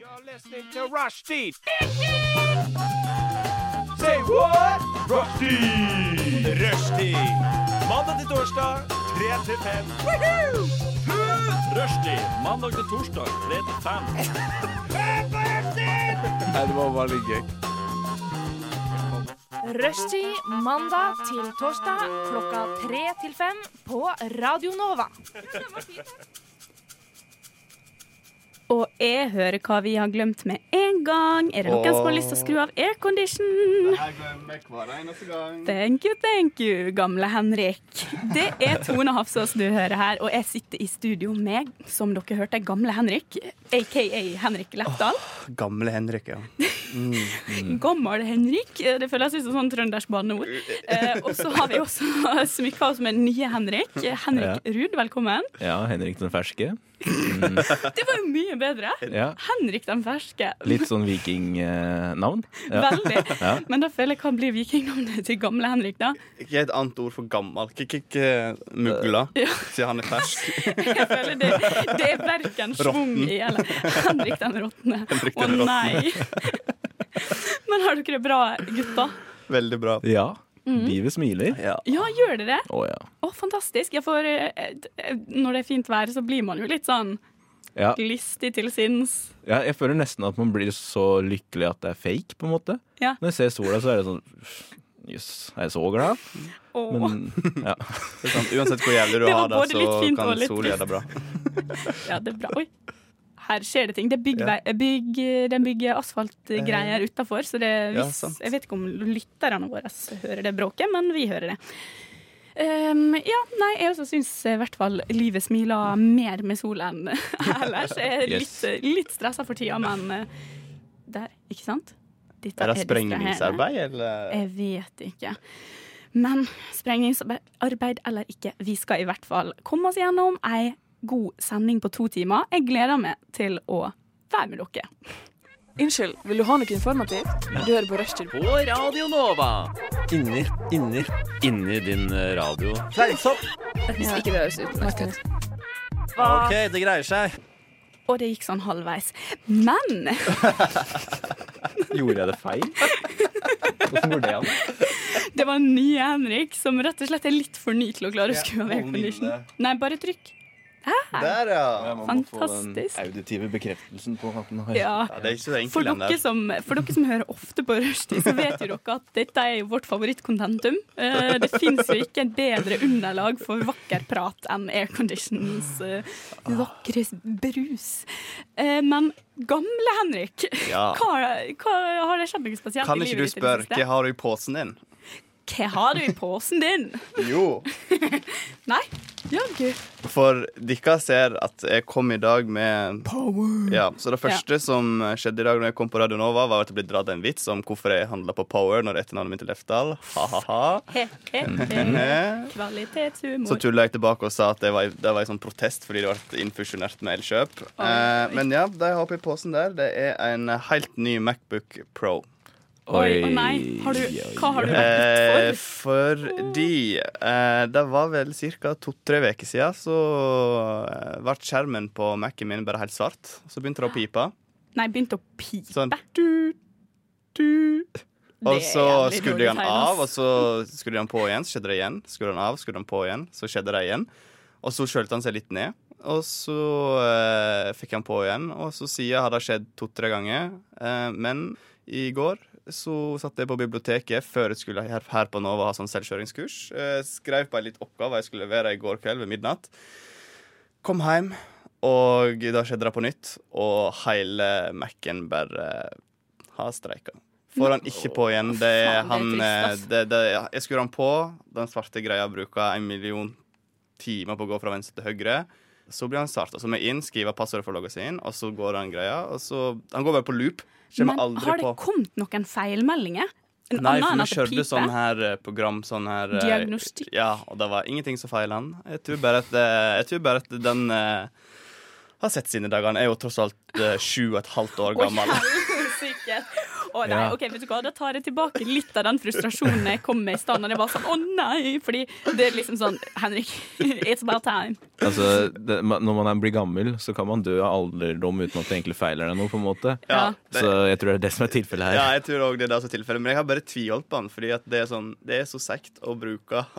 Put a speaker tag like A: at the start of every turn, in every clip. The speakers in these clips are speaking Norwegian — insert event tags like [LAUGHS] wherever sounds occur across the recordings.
A: now listening to Rushdie. Say what? Rushdie! Rushdie. Mandag til torsdag, 3 til 5. Rushdie. Mandag til torsdag, 3 til 5.
B: Rushtid mandag til torsdag klokka tre til fem på Radio Nova.
C: Og jeg hører hva vi har glemt med en gang. Er det noen som har lyst til å skru av aircondition?
D: Jeg glemmer hver eneste gang.
C: Thank you, thank you, gamle Henrik. Det er Tone Hafsås du hører her, og jeg sitter i studio med, som dere hørte, gamle Henrik, aka Henrik Lepdal.
D: Gamle Henrik, ja.
C: Gammel Henrik, det føles ut som sånn trøndersk banneord. Eh, og så har vi også [LAUGHS] smykka oss med den nye Henrik. Henrik Ruud, velkommen.
E: Ja, Henrik den ferske.
C: Det var jo mye bedre.
E: Ja.
C: Henrik den ferske.
E: Litt sånn vikingnavn. Ja.
C: Veldig. Men da føler jeg hva blir vikingnavnet til gamle Henrik, da?
D: Ikke et annet ord for gammel. Ikke, ikke, ikke mugla,
C: Eh,
D: siden han er
C: [LAUGHS]
D: fersk.
C: Jeg føler det, det er verken schwung i eller Henrik den råtne.
D: Henrik
C: Å
D: den
C: nei! Men har dere det bra, gutta?
D: Veldig bra.
E: ja.
C: Mhm.
E: Livet smiler.
D: Ja.
C: Ja, gjør dere det?
E: Å ja.
C: Å, fantastisk. Jeg får, eh, eh, når det er fint vær, så blir man jo litt sånn
E: Ja.
C: lystig til sinns.
E: ja. Jeg føler nesten at man blir så lykkelig at det er fake, på en måte.
C: Ja.
E: Når jeg ser sola, så er det sånn Jøss, er jeg så glad?
C: Å.
E: Men ja.
D: Det er sant. Uansett hvor jævlig du
C: Det var
D: har det,
C: både litt
D: så
C: fint og
D: kan
C: litt
D: sol gjøre
C: [LAUGHS]
D: det bra.
C: Ja, det er bra. Oi. Her skjer det ting. Det er bygg, eh, bygg, eh, den bygger asfaltgreier utafor, så det
D: Eh. ja,
C: hvis,
D: sant.
C: jeg vet ikke om lytterne våre hører det bråket, men vi hører det. Ehm, ja, nei, jeg også syns i hvert fall livet smiler mer med sol enn ellers. [LAUGHS] Jeg er litt,
E: Yes.
C: litt stressa for tida, men eh, der, ikke sant? Dette
D: Er det
C: distraherende.
D: sprengningsarbeid, eller?
C: Jeg vet ikke. Men sprengningsarbeid eller ikke, vi skal i hvert fall komme oss gjennom ei god sending på to timer. Jeg gleder meg til å være med dere.
F: Unnskyld, vil du ha noe informativt? Du hører på Rushtid.
G: Inni, inni, inni din eh, radio. Fleinsopp!
F: Hvis ikke det høres ut. Martin.
G: OK, det greier seg.
C: Og det gikk sånn halvveis. Men
E: Gjorde jeg det feil? Hvordan går det an?
C: det var den nye Henrik som rett og slett er litt for ny til å klare å skru av
D: Ja,
C: aircondition.
D: og eh,
C: Nei, bare trykk.
D: Der, ja.
C: Fantastisk.
E: auditive bekreftelsen på at den har
C: Ja.
D: ja. Det er ikke så
C: For
D: enkelt, den
C: dere,
D: der.
C: som, for dere som hører ofte på Rushdie, så vet jo dere at dette er jo vårt favorittkontentum. Eh, Det fins jo ikke et bedre underlag for vakker prat enn airconditions eh, vakre brus. Eh, Men gamle Henrik,
D: Ja.
C: hva, hva, har det skjedd noe spesielt
D: Kan
C: i
D: ikke du
C: livet ditt? i
D: spørre
C: det
D: hva
C: siste?
D: har du i posen din?
C: Hva har du i posen din?
D: Jo.
C: Nei? Ja, gud.
D: For dere ser at jeg kom i dag med Power. Ja, så det første som skjedde i dag når jeg kom på Radio Nova, var at det ble dratt en vits om hvorfor jeg handla på Power når etternavnet mitt er Lefdal. Ha-ha-ha.
C: He, he, he.
D: [LAUGHS]
C: Kvalitetshumor.
D: Så tulla jeg tilbake og sa at det var, det var en sånn protest fordi det ble infusjonert med Elkjøp. Eh, men ja, det jeg har oppi posen der, det er en helt ny Macbook Pro.
C: Oi, å nei. Har du, hva har du
D: Eh,
C: vært for?
D: fordi eh, det var vel ca. to-tre uker siden så eh, ble skjermen på Mac-en min bare helt svart. Så begynte det å pipe.
C: Nei, begynte å pipe.
D: Sånn du, du. Og
C: Det er
D: så
C: jævlig
D: skrudde
C: dårlig
D: jeg den
C: tegn,
D: av, og
C: ass.
D: så skrudde jeg den på igjen, så skjedde det igjen. Skrudde den av, skrudde den på igjen, så skjedde det igjen. Og så kjølte han seg litt ned, og så eh, fikk han på igjen. Og så siden har det skjedd to-tre ganger, eh, men i går så satt jeg på biblioteket før jeg skulle her, her på Nova ha sånn selvkjøringskurs. Eh, skrev på en litt oppgave jeg skulle levere i går kveld ved midnatt. Kom hjem, og da skjedde det på nytt, og hele Mac-en bare eh, har streika. Får han ikke på igjen. Det er han
C: Faen, det er
D: eh,
C: trist, ass.
D: det, det, ja, Jeg skrur han på. Den svarte greia bruker en million timer på å gå fra venstre til høyre. Så blir han starta. Så må jeg inn, skriver passordet for å logge seg inn, og så går han greia. Og så, han går bare på loop. Kommer
C: Men har
D: aldri
C: det
D: på.
C: kommet noen feilmeldinger? En
D: Nei,
C: annen
D: for
C: enn at
D: vi
C: det
D: kjørte
C: piper?
D: sånn her eh, program, sånn her eh,
C: Diagnostikk.
D: Ja, og det var ingenting som feila han. Jeg tror bare at, eh, jeg tror bare at den eh, har sett sine dager. Han er jo tross alt eh, sju og et halvt år
C: Å,
D: gammel.
C: helsike. Å nei,
E: Ja.
C: ok, vet du hva, Da tar jeg tilbake litt av den frustrasjonen jeg kom med i stad. Når jeg var sånn, å nei, fordi det er liksom sånn Henrik, [LAUGHS] it's about time.
E: Altså, det, ma- når man er- blir gammel, så kan man dø av alderdom uten at det egentlig feiler deg noe, på en måte.
C: Ja.
D: det,
E: Så jeg tror det er det som er tilfellet her.
D: ja, jeg tror òg det er det som er tilfellet. Men jeg har bare tviholdt på den, fordi at det er sånn Det er så seigt å bruke [LAUGHS]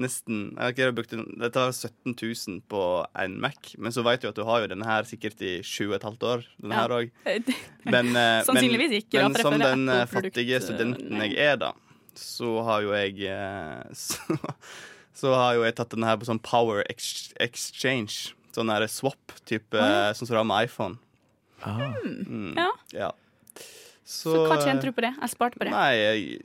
D: nesten jeg har ikke brukt den, Det tar 17 000 på en Mac, men så vet du at du har jo denne her sikkert i sju og et halvt år. Denne
C: Ja.
D: her òg.
C: Det [LAUGHS]
D: Men, eh, men-
C: Sannsynligvis ikke, da,
D: Men
C: for jeg
D: som
C: føler
D: den eh,
C: Apple-produkt,
D: fattige
C: eh,
D: studenten
C: nei.
D: jeg er, da, så har jo jeg eh, [LAUGHS] så, så har jo jeg tatt den her på sånn power ex exchange. Sånn der swap-type, eh, sånn som du har med iPhone.
E: Ah.
D: Mm,
C: Ja.
D: ja. eh,
C: Så hva tjente du på det? Jeg sparte på det.
D: Nei, jeg-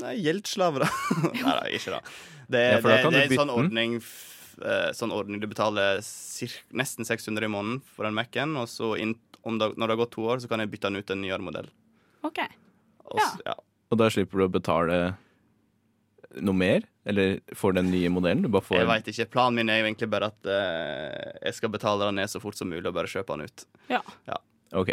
D: nei gjeldsslaver, da. [LAUGHS] nei, nei, ikke da. Det,
E: Ja, for da
D: det,
E: kan
D: det
E: du
D: er en
E: bytte
D: sånn
E: den.
D: ordning, f- eh, sånn ordning du betaler cir- nesten 600 i måneden for den Mac-en, og så inn, om det, når det har gått to år, så kan jeg bytte den ut til en nyere modell.
C: Ok.
D: Og s- ja.
E: Og da slipper du å betale noe mer? Eller for den nye modellen? Du bare får
D: Jeg veit ikke. Planen min er jo egentlig bare at eh, jeg skal betale den ned så fort som mulig, og bare kjøpe den ut.
E: Ok.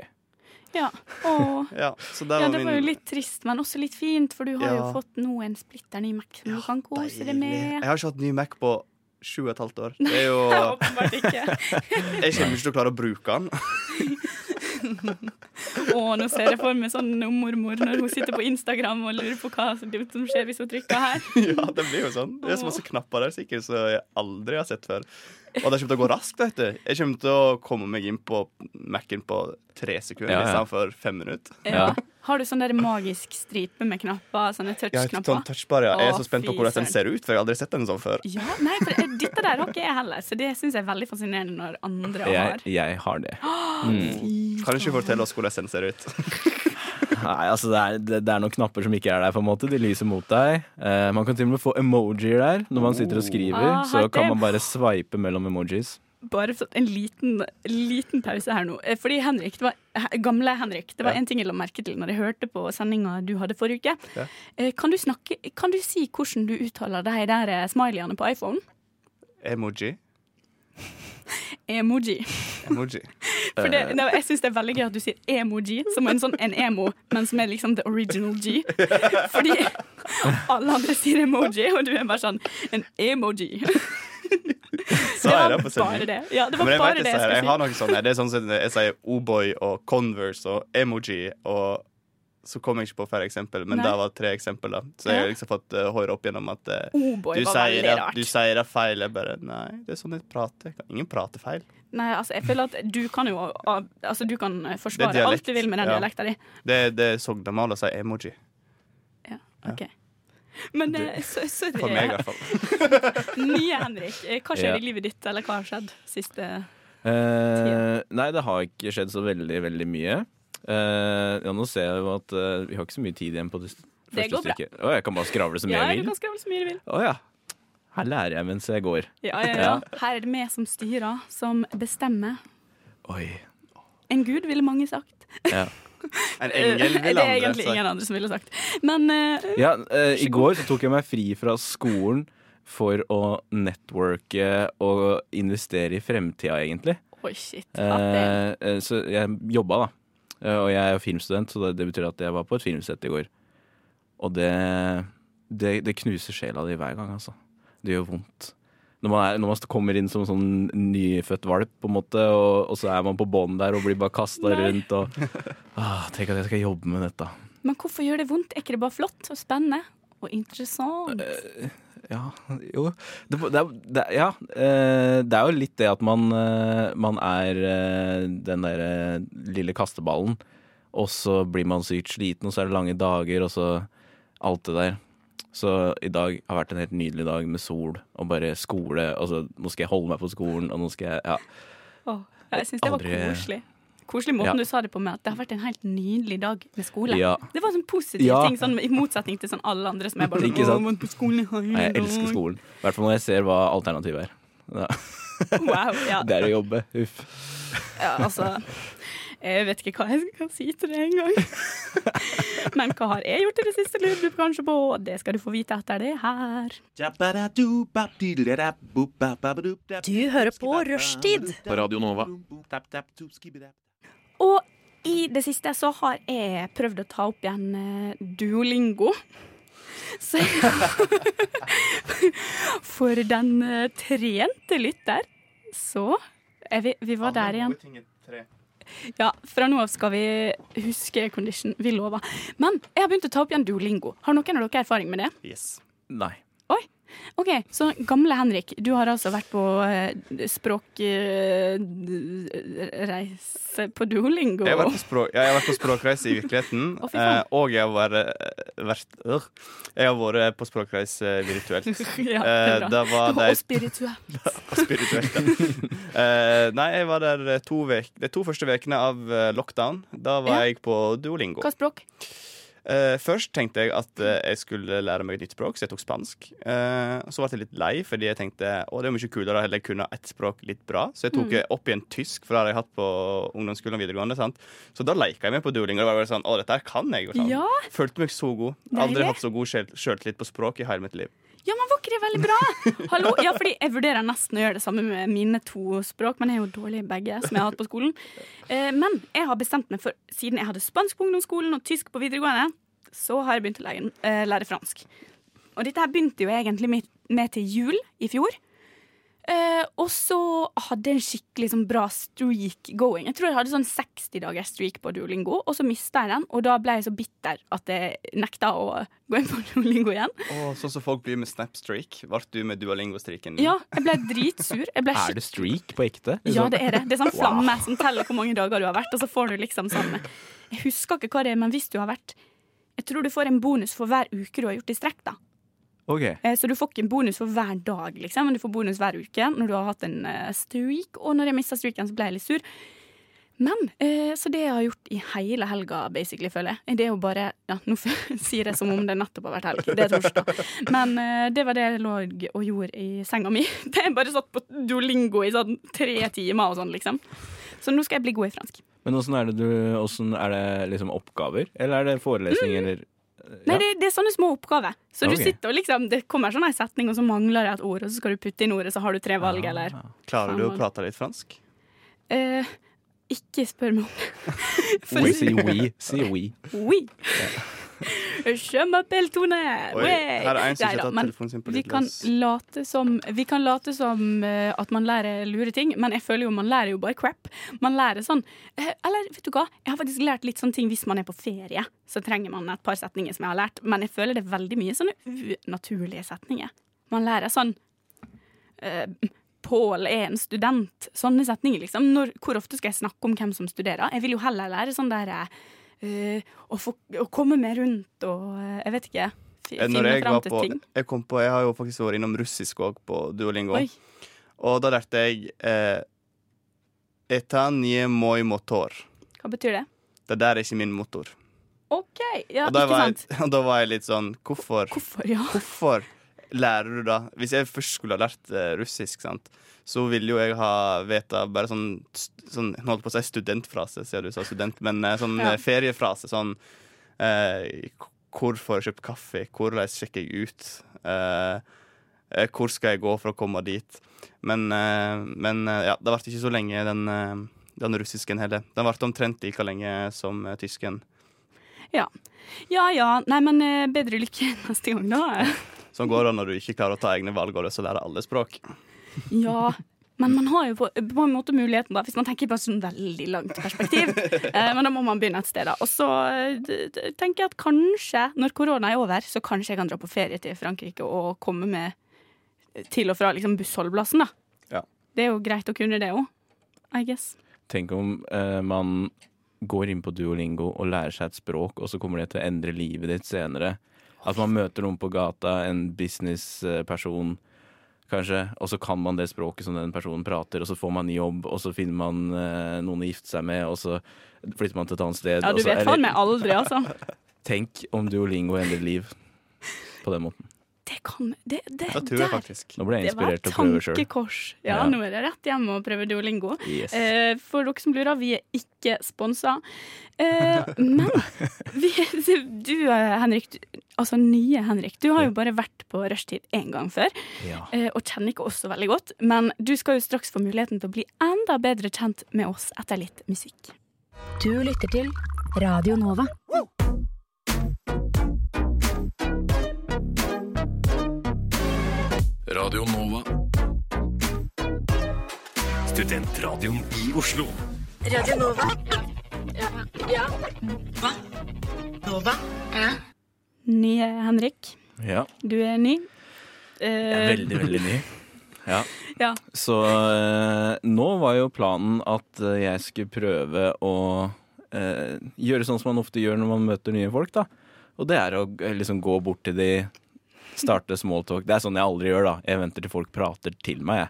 C: Ja. Åh.
D: Ja, så det
C: Ja,
D: var
C: det var jo
D: min
C: litt trist, men også litt fint, for du har jo
D: Ja.
C: fått nå en splitter ny Mac som du kan kose deg
D: Deilig.
C: med.
D: Jeg har ikke hatt ny Mac på sju og et halvt år. Det er jo, [LAUGHS]
C: [LAUGHS] Åpenbart ikke.
D: jeg kommer ikke til å klare å bruke den. [LAUGHS]
C: Å, nå ser jeg for meg sånn mormor når hun sitter på Instagram og lurer på hva som som skjer hvis hun trykker her.
D: Ja, Det blir jo sånn Det er så masse knapper der sikkert som jeg aldri har sett før. Og det kommer til å gå raskt. vet du Jeg kommer til å komme meg inn på Mac-en på tre sekunder
E: Ja, ja.
D: istedenfor fem minutter.
C: Ja. Har du sånn der magisk stripe med knapper? Sånne
D: Jeg, sånn
C: touch-knapper?
D: touchbar, ja. jeg er
C: Å,
D: så spent på
C: fy
D: hvordan den
C: søren.
D: ser ut, for jeg har aldri sett den sånn før.
C: Ja, nei, for eh, dette der har ikke jeg heller, så det syns jeg er veldig fascinerende når andre
E: Jeg,
C: har.
E: jeg har
C: [GASPS]
E: det.
D: Kan du ikke fortelle oss hvordan den ser ut? [LAUGHS]
E: Nei, altså det er, det, det er noen knapper som ikke er der, på en måte. De lyser mot deg. Eh, man kan til og med få emojier der når man sitter og skriver.
C: Ah,
E: så
C: har
E: kan
C: det-
E: man bare sveipe mellom emojis.
C: Bare sånn en liten, liten pause her nå. Eh, Fordi Henrik, det var, he- gamle Henrik, det var
E: Ja.
C: en ting jeg la merke til når jeg hørte på sendinga du hadde forrige uke.
D: Ja.
C: Eh, Kan du, snakke, kan du si hvordan du uttaler de der eh, smileyene på iPhone?
D: Emoji.
C: Emoji. [LAUGHS]
D: Emoji.
C: For
D: Eh.
C: det, nei, jeg syns det er veldig gøy at du sier emoji, som en sånn en emo, men som er liksom the original
D: [LAUGHS]
C: G. Fordi alle andre sier emoji, og du er bare sånn en emoji. [LAUGHS]
D: Så er det på
C: bare
D: sending.
C: det. Ja, det var
D: Men jeg,
C: bare
D: vet
C: det
D: jeg,
C: jeg
D: sier, jeg har
C: skulle si.
D: noen sånne. Det er sånn som jeg sier O'boy og Converse og emoji og så kom jeg ikke på flere eksempel, men
C: Nei.
D: det var tre eksempel. da Så jeg har liksom fått eh, høre opp gjennom at eh,
C: Oboy
D: du,
C: var
D: sier
C: veldig
D: det,
C: rart.
D: du sier det feil. Jeg bare Nei, det er sånn jeg prater. Jeg kan- Ingen prater feil.
C: Nei, altså, jeg føler at du kan jo av- Altså, du kan forsvare
D: Det er dialekt,
C: alt du vil med den
D: ja.
C: dialekta di.
D: Det, det er sognemål å si emoji.
C: Ja, OK. Men eh, så, så
D: For meg, i hvert fall.
C: [LAUGHS] nye Henrik, eh, hva skjer
E: Ja.
C: i livet ditt, eller hva har skjedd siste
E: Eh, nei, det har ikke skjedd så veldig, veldig mye. Eh, ja, nå ser jeg jo at eh, vi har ikke så mye tid igjen på det s-
C: Det
E: første
C: går bra.
E: stykket. Å, jeg kan bare skravle så mye
C: Ja,
E: jeg
C: du
E: vil?
C: kan skravle så mye du vil.
E: Å ja. Her lærer jeg mens jeg går.
C: Ja, ja, ja. Her er det vi som styrer, som bestemmer.
E: Oi.
C: [LAUGHS] En gud, ville mange sagt.
E: Ja.
D: En engel
C: Eh, [LAUGHS]
D: vil
C: det er
D: andre
C: egentlig
D: si.
C: ingen andre som ville sagt. Men eh,
E: Ja, eh, I går så tok jeg meg fri fra skolen for å networke og investere i fremtida, egentlig.
C: Oi, shit. At det,
E: Eh, eh, så jeg jobba, da. Eh, Og jeg er filmstudent, så det, det betyr at jeg var på et filmsett i går. Og det, det, det knuser sjela di hver gang, altså. Det gjør vondt. Når man, er, når man kommer inn som en sånn nyfødt valp, på en måte, og, og så er man på bånn der og blir bare kasta
C: Nei.
E: rundt og ah, Tenk at jeg skal jobbe med dette.
C: men hvorfor gjør det vondt? Er ikke det bare flott og spennende? Og interessant.
E: Ja, jo det, det, er- det, er- ja, eh, det er jo litt det at man, eh, man er eh, den derre lille kasteballen, og så blir man sykt sliten, og så er det lange dager, og så alt det der. Så i dag har vært en helt nydelig dag med sol og bare skole. Og så nå skal jeg holde meg på skolen, og nå skal jeg Ja.
C: Åh, jeg syns det var
E: Aldri-
C: koselig. Koselig måten
E: Ja.
C: du sa det på med at det har vært en helt nydelig dag med skole.
E: Ja.
C: Det var en sånn positiv
E: Ja.
C: ting, sånn, i motsetning til sånn alle andre som er bare
E: [LAUGHS] Ikke sant?
C: «Åh, men på skolen har jeg
E: Nei, jeg
C: en
E: elsker
C: dag».
E: skolen. I hvert fall når jeg ser hva alternativet er. Ja.
C: Wow, ja.
E: Det er å jobbe. Uff.
C: Ja, altså Jeg vet ikke hva jeg kan si til det
E: [LAUGHS]
C: engang. Men hva har jeg gjort i det siste, lurer du kanskje på? Det skal du få vite etter det her.
H: Du hører på Rushtid
G: På Radio Nova.
C: Og I det siste så har jeg prøvd å ta opp igjen eh, Duolingo. [LAUGHS] Så [LAUGHS] For den eh, trente lytter, så er vi, vi var der igjen. Ja, fra nå av skal vi huske condition. Vi lover. Men jeg har begynt å ta opp igjen Duolingo. Har noen av dere erfaring med det?
D: Yes.
E: Nei.
C: Ok, Så gamle Henrik, du har altså vært på eh, språkreise på Duolingo. [LAUGHS]
D: Jeg har vært på, språk, ja, jeg har vært på språkreise i virkeligheten.
C: Å, fy faen.
D: eh, og jeg har vært, vært øh, Jeg har vært på språkreise virtuelt.
C: ja, det
D: Eh,
C: er bra.
D: da var
C: Og
D: det
C: spirituell.
D: [LAUGHS] spirituelt. ja. Eh, nei, jeg var der eh, to vek, de to første ukene av eh, lockdown. Da var
C: Ja.
D: jeg på Duolingo.
C: Hva språk?
D: Eh, først tenkte jeg at eh, jeg skulle lære meg et nytt språk, så jeg tok spansk. Eh, så ble jeg litt lei, fordi jeg tenkte å, det er mye kulere å heller kunne ett språk litt bra. Så jeg
C: Mm.
D: tok eh, opp igjen tysk, for det hadde jeg hatt på ungdomsskolen og videregående. Sant? Så da leka jeg meg på duolingo. Og det var bare sånn, å, dette her kan jeg jo. sant?
C: Ja.
D: Følte meg så god.
C: Deilig.
D: Aldri hatt så god sjel- sjøltillit på språk i hele mitt liv.
C: Ja, men var ikke det veldig bra? Hallo? Ja, fordi jeg vurderer nesten å gjøre det samme med mine to språk, men jeg er jo dårlig i begge, som jeg har hatt på skolen. Eh, Men jeg har bestemt meg for, siden jeg hadde spansk på ungdomsskolen og tysk på videregående, så har jeg begynt å lære, eh, lære fransk. Og dette her begynte jo egentlig med, med til jul i fjor. Eh, og så hadde jeg en skikkelig sånn bra streak going. Jeg tror jeg hadde sånn 60 dagers streak på Duolingo, og så mista jeg den. Og da ble jeg så bitter at jeg nekta å gå inn på [LAUGHS] Duolingo igjen.
D: Å, sånn som folk blir med Snapstreak. Ble du med duolingo-streaken?
C: Ja, jeg ble dritsur. Jeg ble
E: Er det streak på ekte? liksom?
C: ja, det er det. Det er sånn flamme som teller hvor mange dager du har vært, og så får du liksom sånn Jeg husker ikke hva det er, men hvis du har vært Jeg tror du får en bonus for hver uke du har gjort i strekk, da.
E: OK.
C: Eh, Så du får ikke en bonus for hver dag, liksom, men du får bonus hver uke når du har hatt en eh, streak. Og når jeg mista streaken, så ble jeg litt sur. Men eh, Så det jeg har gjort i hele helga, basically, føler jeg, det er jo bare ja, Nå [LAUGHS] sier jeg som om det nettopp har vært helg. Det er torsdag. Men eh, det var det jeg lå og gjorde i senga mi. [LAUGHS] Det er bare satt på Duolingo i sånn tre timer og sånn, liksom. Så nå skal jeg bli god i fransk.
E: Men åssen er det du Åssen er det liksom oppgaver? Eller er det forelesning,
C: Mm,
E: eller
C: Nei,
E: Ja.
C: det, det er sånne små oppgaver. Så
E: Ok.
C: du sitter og liksom Det kommer sånn en setning, og så mangler det et ord, og så skal du putte inn ordet, så har du tre valg,
E: Ah.
C: eller
D: Klarer du å prate litt fransk?
C: Eh, ikke spør meg om
D: [LAUGHS]
C: det. For-
E: We, si we. Si we.
C: Oui. Je m'appelle Tone.
D: Oi, her er en som ikke har tatt telefonen sin på
C: vi kan
D: lydløs.
C: late som, vi kan late som eh, at man lærer lure ting, men jeg føler jo man lærer jo bare crap. Man lærer sånn eh, Eller vet du hva, jeg har faktisk lært litt sånne ting hvis man er på ferie. Så trenger man et par setninger som jeg har lært, men jeg føler det er veldig mye sånne unaturlige setninger. Man lærer sånn eh, Pål er en student. Sånne setninger, liksom. Når, hvor ofte skal jeg snakke om hvem som studerer? Jeg vil jo heller lære sånn der eh, å, få, å komme meg rundt og eh, Jeg vet ikke. fi-
D: Eh, Når
C: Finne
D: jeg,
C: fram
D: var
C: til
D: på,
C: ting.
D: jeg, kom på, jeg har jo faktisk vært innom russisk òg på Duolingo.
C: Oi.
D: Og da lærte jeg eh, Etanie moi motor.
C: Hva betyr det?
D: Det der er ikke min motor.
C: OK, ja,
D: og, da
C: ikke
D: var jeg,
C: sant?
D: [LAUGHS] og da var jeg litt sånn Hvorfor?
C: Hvorfor, ja?
D: Hvorfor lærer du da? Hvis jeg først skulle ha lært eh, russisk, sant? så ville jo jeg ha veta bare sånn, st- sånn jeg Holdt på å si studentfrase, siden du sa student, men eh, sånn
C: Ja.
D: eh, feriefrase. Sånn eh, k- Hvor får jeg kjøpt kaffe? Hvordan sjekker jeg ut? Eh, eh, hvor skal jeg gå for å komme dit? Men, eh, men eh, ja, det varte ikke så lenge, den, eh, den russisken heller. Den varte omtrent like lenge som eh, tysken.
C: Ja ja, nei, men eh, bedre lykke [LAUGHS] neste gang, da.
D: Sånn går det når du ikke klarer å ta egne valg og har lyst til å lære alle språk.
C: Ja, men man har jo på, på en måte muligheten, da, hvis man tenker på et sånn veldig langt perspektiv. Eh, men da må man begynne et sted, da. Og så eh, d- d- tenker jeg at kanskje, når korona er over, så kanskje jeg kan dra på ferie til Frankrike og komme med til og fra liksom bussholdeplassen, da.
D: Ja.
C: Det er jo greit å kunne det òg, I guess.
E: Tenk om eh, man går inn på Duolingo og lærer seg et språk, og så kommer det til å endre livet ditt senere. At man møter noen på gata, en businessperson kanskje, og så kan man det språket som den personen prater, og så får man jobb, og så finner man eh, noen å gifte seg med, og så flytter man til et annet sted.
C: Ja, du
E: og så,
C: vet faen meg aldri, altså.
E: tenk om Duolingo endrer liv på den måten.
C: Det kan Det, det,
D: Det tror jeg
C: der.
D: faktisk.
E: Nå ble jeg
C: det var et
E: inspirert til å prøve sjøl.
C: tankekors. Ja,
E: Ja.
C: nå er det rett hjem og prøve Duolingo.
E: Yes.
C: Eh, for dere som lurer, vi er ikke sponsa. Eh, men vi, [LAUGHS] du, eh, Henrik, du, altså nye Henrik, du har jo bare vært på rushtid én gang før.
E: Ja.
C: eh, Og kjenner ikke oss så veldig godt. Men du skal jo straks få muligheten til å bli enda bedre kjent med oss etter litt musikk.
H: Du lytter til Radio Nova.
I: Radio Nova. Studentradioen i Oslo.
H: Radio Nova. Ja. Hva? Nova?
C: Nye Henrik,
E: Ja.
C: du er ny. Eh,
E: Veldig, veldig ny. Ja.
C: Ja.
E: Så eh, nå var jo planen at eh, jeg skulle prøve å eh, gjøre sånn som man ofte gjør når man møter nye folk, da. Og det er å eh, liksom gå bort til de, starte smalltalk. Det er sånn jeg aldri gjør, da. Jeg venter til folk prater til meg, jeg.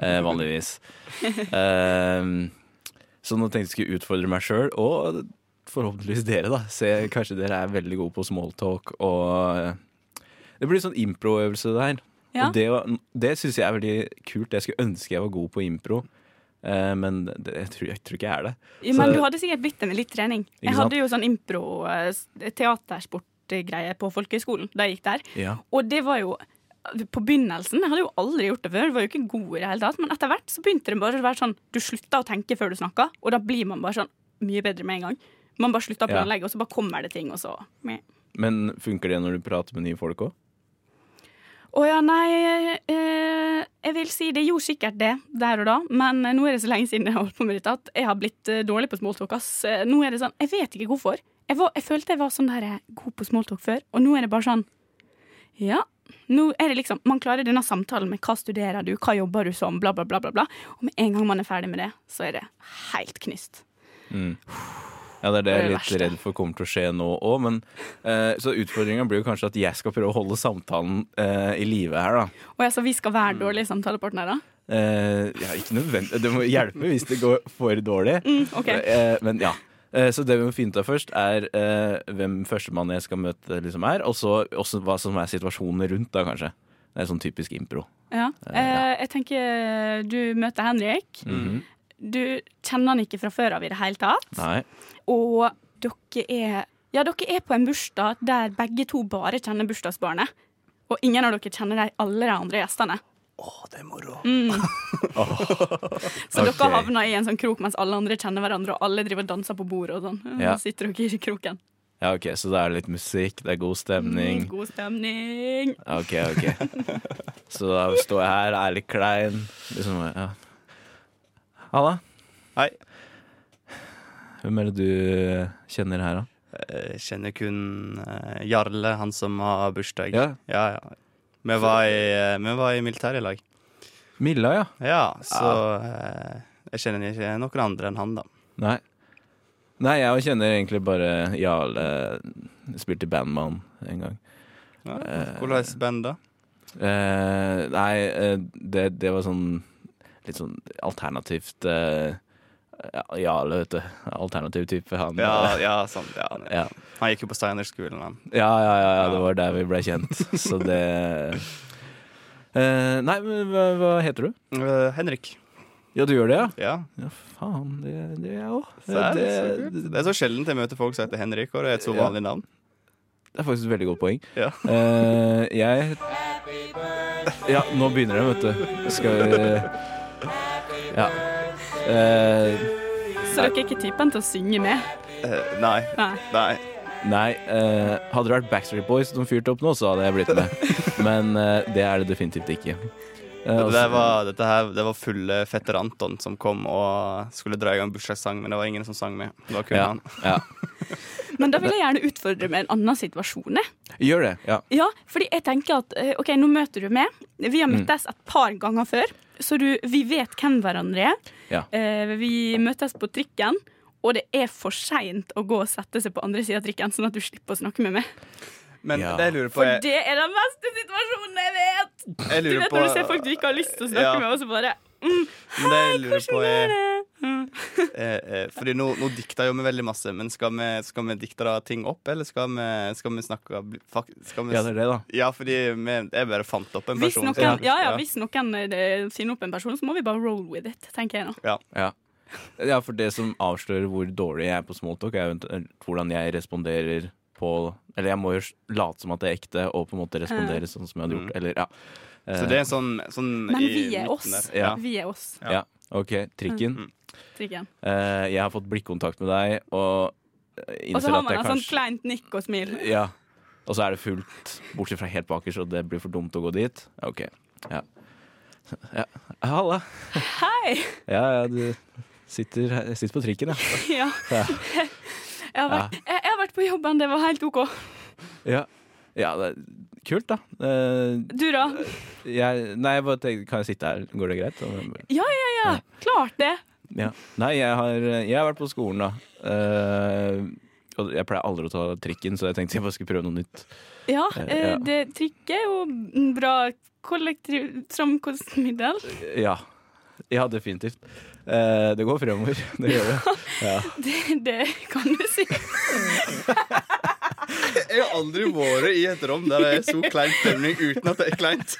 E: Eh, vanligvis. Eh, så nå tenkte jeg skulle utfordre meg sjøl, og forhåpentligvis dere, da. Se, kanskje dere er veldig gode på smalltalk og eh, Det blir sånn improøvelse, det her.
C: ja.
E: Og det, var- det syns jeg er veldig kult. Jeg skulle ønske jeg var god på impro, eh, men det, jeg, tror, jeg tror ikke jeg er det.
C: Jo, Men
E: så-
C: du hadde sikkert blitt det med litt trening. Jeg
E: sant?
C: hadde jo sånn impro-teatersportgreie på folkehøyskolen da jeg gikk der.
E: Ja.
C: Og det var jo på begynnelsen, Jeg hadde jo aldri gjort det før, var jo ikke god i det hele tatt. Men etter hvert så begynte det bare å være sånn du slutta å tenke før du snakka, og da blir man bare sånn mye bedre med en gang. Man bare slutter å
E: Ja.
C: planlegge, og så bare kommer det ting, og så Meh.
E: Men funker det når du prater med nye folk òg?
C: Å ja, nei eh, Jeg vil si det gjorde sikkert det der og da, men nå er det så lenge siden jeg har holdt på med dette at jeg har blitt eh, dårlig på smalltalk. Ass. Eh, Nå er det sånn, Jeg vet ikke hvorfor. Jeg, var, jeg følte jeg var sånn der eh, god på smalltalk før, og nå er det bare sånn Ja. Nå er det liksom, Man klarer denne samtalen med hva studerer du, hva jobber du som, bla, bla, bla. bla, bla. Og med en gang man er ferdig med det, så er det helt knust.
E: Ja, det er
C: Det er
E: det jeg er
C: det
E: litt
C: verste.
E: redd for kommer til å skje nå òg, men eh, Så utfordringa blir jo kanskje at jeg skal prøve å holde samtalen eh, i live her, da.
C: Og jeg, så vi skal være dårlige samtalepartnere?
E: Eh, ja, ikke nødvendig Det må hjelpe hvis det går for dårlig.
C: Mm, ok.
E: Eh, men ja. Eh, Så det vi må finne ut av først, er eh, hvem førstemann jeg skal møte liksom er, og så også hva som er situasjonen rundt, da kanskje. Det er sånn typisk impro.
C: Ja. Eh, jeg tenker eh, du møter Henrik. Du kjenner han ikke fra før av i det hele tatt.
E: Mhm. Nei.
C: Og dere er Ja, dere er på en bursdag der begge to bare kjenner bursdagsbarnet. Og ingen av dere kjenner de alle de andre gjestene. Mm. Så
E: Ok.
C: dere havner i en sånn krok mens alle andre kjenner hverandre, og alle driver og danser på bordet og sånn.
E: Ja.
C: Ja. Sitter dere i kroken.
E: Ja, ok, Så det er litt musikk, det er god stemning.
C: Mm, god stemning.
E: Ok, ok. Så da står jeg her, er litt klein. Liksom, ja. Halla.
D: Hei.
E: Hvem er det du kjenner her, da?
D: Eh, kjenner kun eh, Jarle, han som har bursdag.
E: Ja.
D: ja, ja. Vi var i, eh, vi var i militæret i lag.
E: Milla, ja.
D: Ja, så eh, jeg kjenner ikke noen andre enn han, da.
E: Nei. Nei, jeg kjenner egentlig bare Jarle. Spilte i band med han en gang.
D: Ja. Hvordan band, da?
E: Eh, nei, eh, det, det var sånn litt sånn alternativt eh, ja, Jarle, vet du. Alternativ type, han.
D: Ja, ja, sånn, ja.
E: [LAUGHS] ja.
D: Han gikk jo på Steinerskolen, han.
E: Ja, ja, ja, ja, det var der vi ble kjent. Så det Eh, Nei, men hva, hva heter du?
D: Eh, Henrik.
E: Ja, du gjør det, ja?
D: Ja.
E: Ja, faen, det det gjør jeg òg.
D: Så er det, så
E: Det,
D: kult. det er så sjelden jeg møter folk som heter Henrik, og det er et så
E: Ja.
D: vanlig navn.
E: det er faktisk et veldig godt poeng.
D: Ja.
E: Eh, jeg Ja, nå begynner det, vet du. Skal vi Ja. Eh,
C: Så dere er ikke typen til å synge med?
D: Eh, nei.
C: Nei.
D: Nei.
E: nei, eh, hadde det vært Backstreet Boys som fyrte opp nå, så hadde jeg blitt med.
D: [LAUGHS]
E: Men eh, det er det definitivt ikke. Eh,
D: Det,
E: også-
D: var, dette her, det var fulle fetter Anton som kom og skulle dra i gang bursdagssang, men det var ingen som sang med. Det var kun
E: ja,
D: han.
E: ja.
C: Men da vil jeg gjerne utfordre med en annen situasjon. jeg.
E: Gjør det. Ja.
C: Ja, fordi jeg tenker at eh, Ok, nå møter du meg. Vi har møttes et par ganger før, så du, vi vet hvem hverandre er.
E: Ja.
C: Eh, vi møtes på trikken, og det er for seint å gå og sette seg på andre sida av trikken, sånn at du slipper å snakke med meg.
D: Men
E: Ja.
D: det jeg lurer på
C: For
D: er,
C: det er den verste situasjonen jeg vet!
D: jeg
C: Du
D: lurer
C: vet
D: Eh. på,
C: når du ser folk du ikke har lyst til å snakke
D: Ja.
C: med, og så bare
D: men det jeg lurer på
C: Hvordan
D: er
C: går det? Mm.
D: eh, eh, Fordi nå, nå dikter jo vi veldig masse, men skal vi, skal vi dikte da ting opp, eller skal vi, skal vi snakke bli- fak- skal vi,
E: ja, det er det, da.
D: Ja, fordi vi, jeg bare fant opp en
C: Hvis
D: person.
C: noen,
D: som-
C: ja, ja, hvis noen eh, finner opp en person, så må vi bare roll with it, tenker jeg nå.
E: Ja. ja, for det som avslører hvor dårlig jeg er på smalltalk, er eventuelt hvordan jeg responderer på Eller jeg må jo late som at det er ekte, og på en måte
C: Mm.
E: respondere sånn som jeg hadde gjort. Eller, ja.
D: Mm.
E: Eh,
D: Så det er en sånn, sånn
C: Men
D: i
C: vi er
D: midten
C: oss.
D: der. Ja.
C: Vi er oss. Mm.
E: ja. OK, trikken.
C: trikken.
E: Eh, jeg har fått blikkontakt med deg, og
C: Og så
E: innser
C: har man
E: at
C: sånn
E: jeg
C: et sånt
E: kanskje
C: kleint nikk og smil.
E: ja. Og så er det fullt, bortsett fra helt bakerst, og det blir for dumt å gå dit. Ja, OK. Ja. ja. Halla.
C: Hei!
E: Ja, ja, du sitter, jeg sitter på trikken, ja.
C: Ja.
E: Ja.
C: Jeg har, vært, jeg, jeg har vært på jobben, det var helt OK.
E: Ja, ja det er kult, da. Eh,
C: Du da?
E: jeg, nei, jeg bare tenkte, kan jeg sitte her? Går det greit? Og-
C: Ja, ja, ja. Klart det.
E: Ja. Nei, jeg har, jeg har vært på skolen, da. Eh, og jeg pleier aldri å ta trikken, så jeg tenkte jeg bare skulle prøve noe nytt.
C: Ja,
E: Eh,
C: eh,
E: ja.
C: det trikk er jo en bra kollektiv framkomstmiddel.
E: Ja. Ja, definitivt. Eh, det går fremover. Det gjør det.
C: Det, det kan du si.
D: Jeg har aldri vært i et rom der det er så klein stemning uten at det er kleint.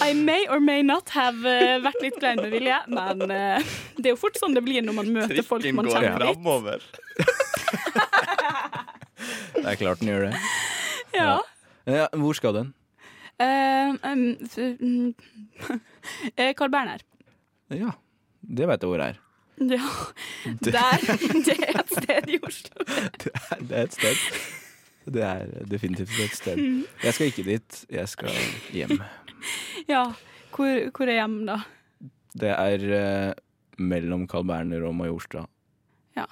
C: I may or may not have eh, vært litt klein med vilje, men eh, det er jo fort sånn det blir når man møter folk
D: Trikken
C: man
D: går
C: kjenner litt.
D: framover.
E: [LAUGHS] Det er klart den gjør det.
C: Ja.
E: Ja, hvor skal den?
C: Eh, em, f- mm, [LAUGHS] eh, Carl Berner.
E: Ja, det veit jeg hvor det er.
C: Ja, der. [LAUGHS] Det er et sted i Oslo.
E: [LAUGHS] Det er, det er et sted. Det er definitivt et sted. Jeg skal ikke dit. Jeg skal hjem.
C: Ja, hvor, hvor er hjem da?
E: Det er eh, mellom Carl Berner og Majorstua.
C: Ja.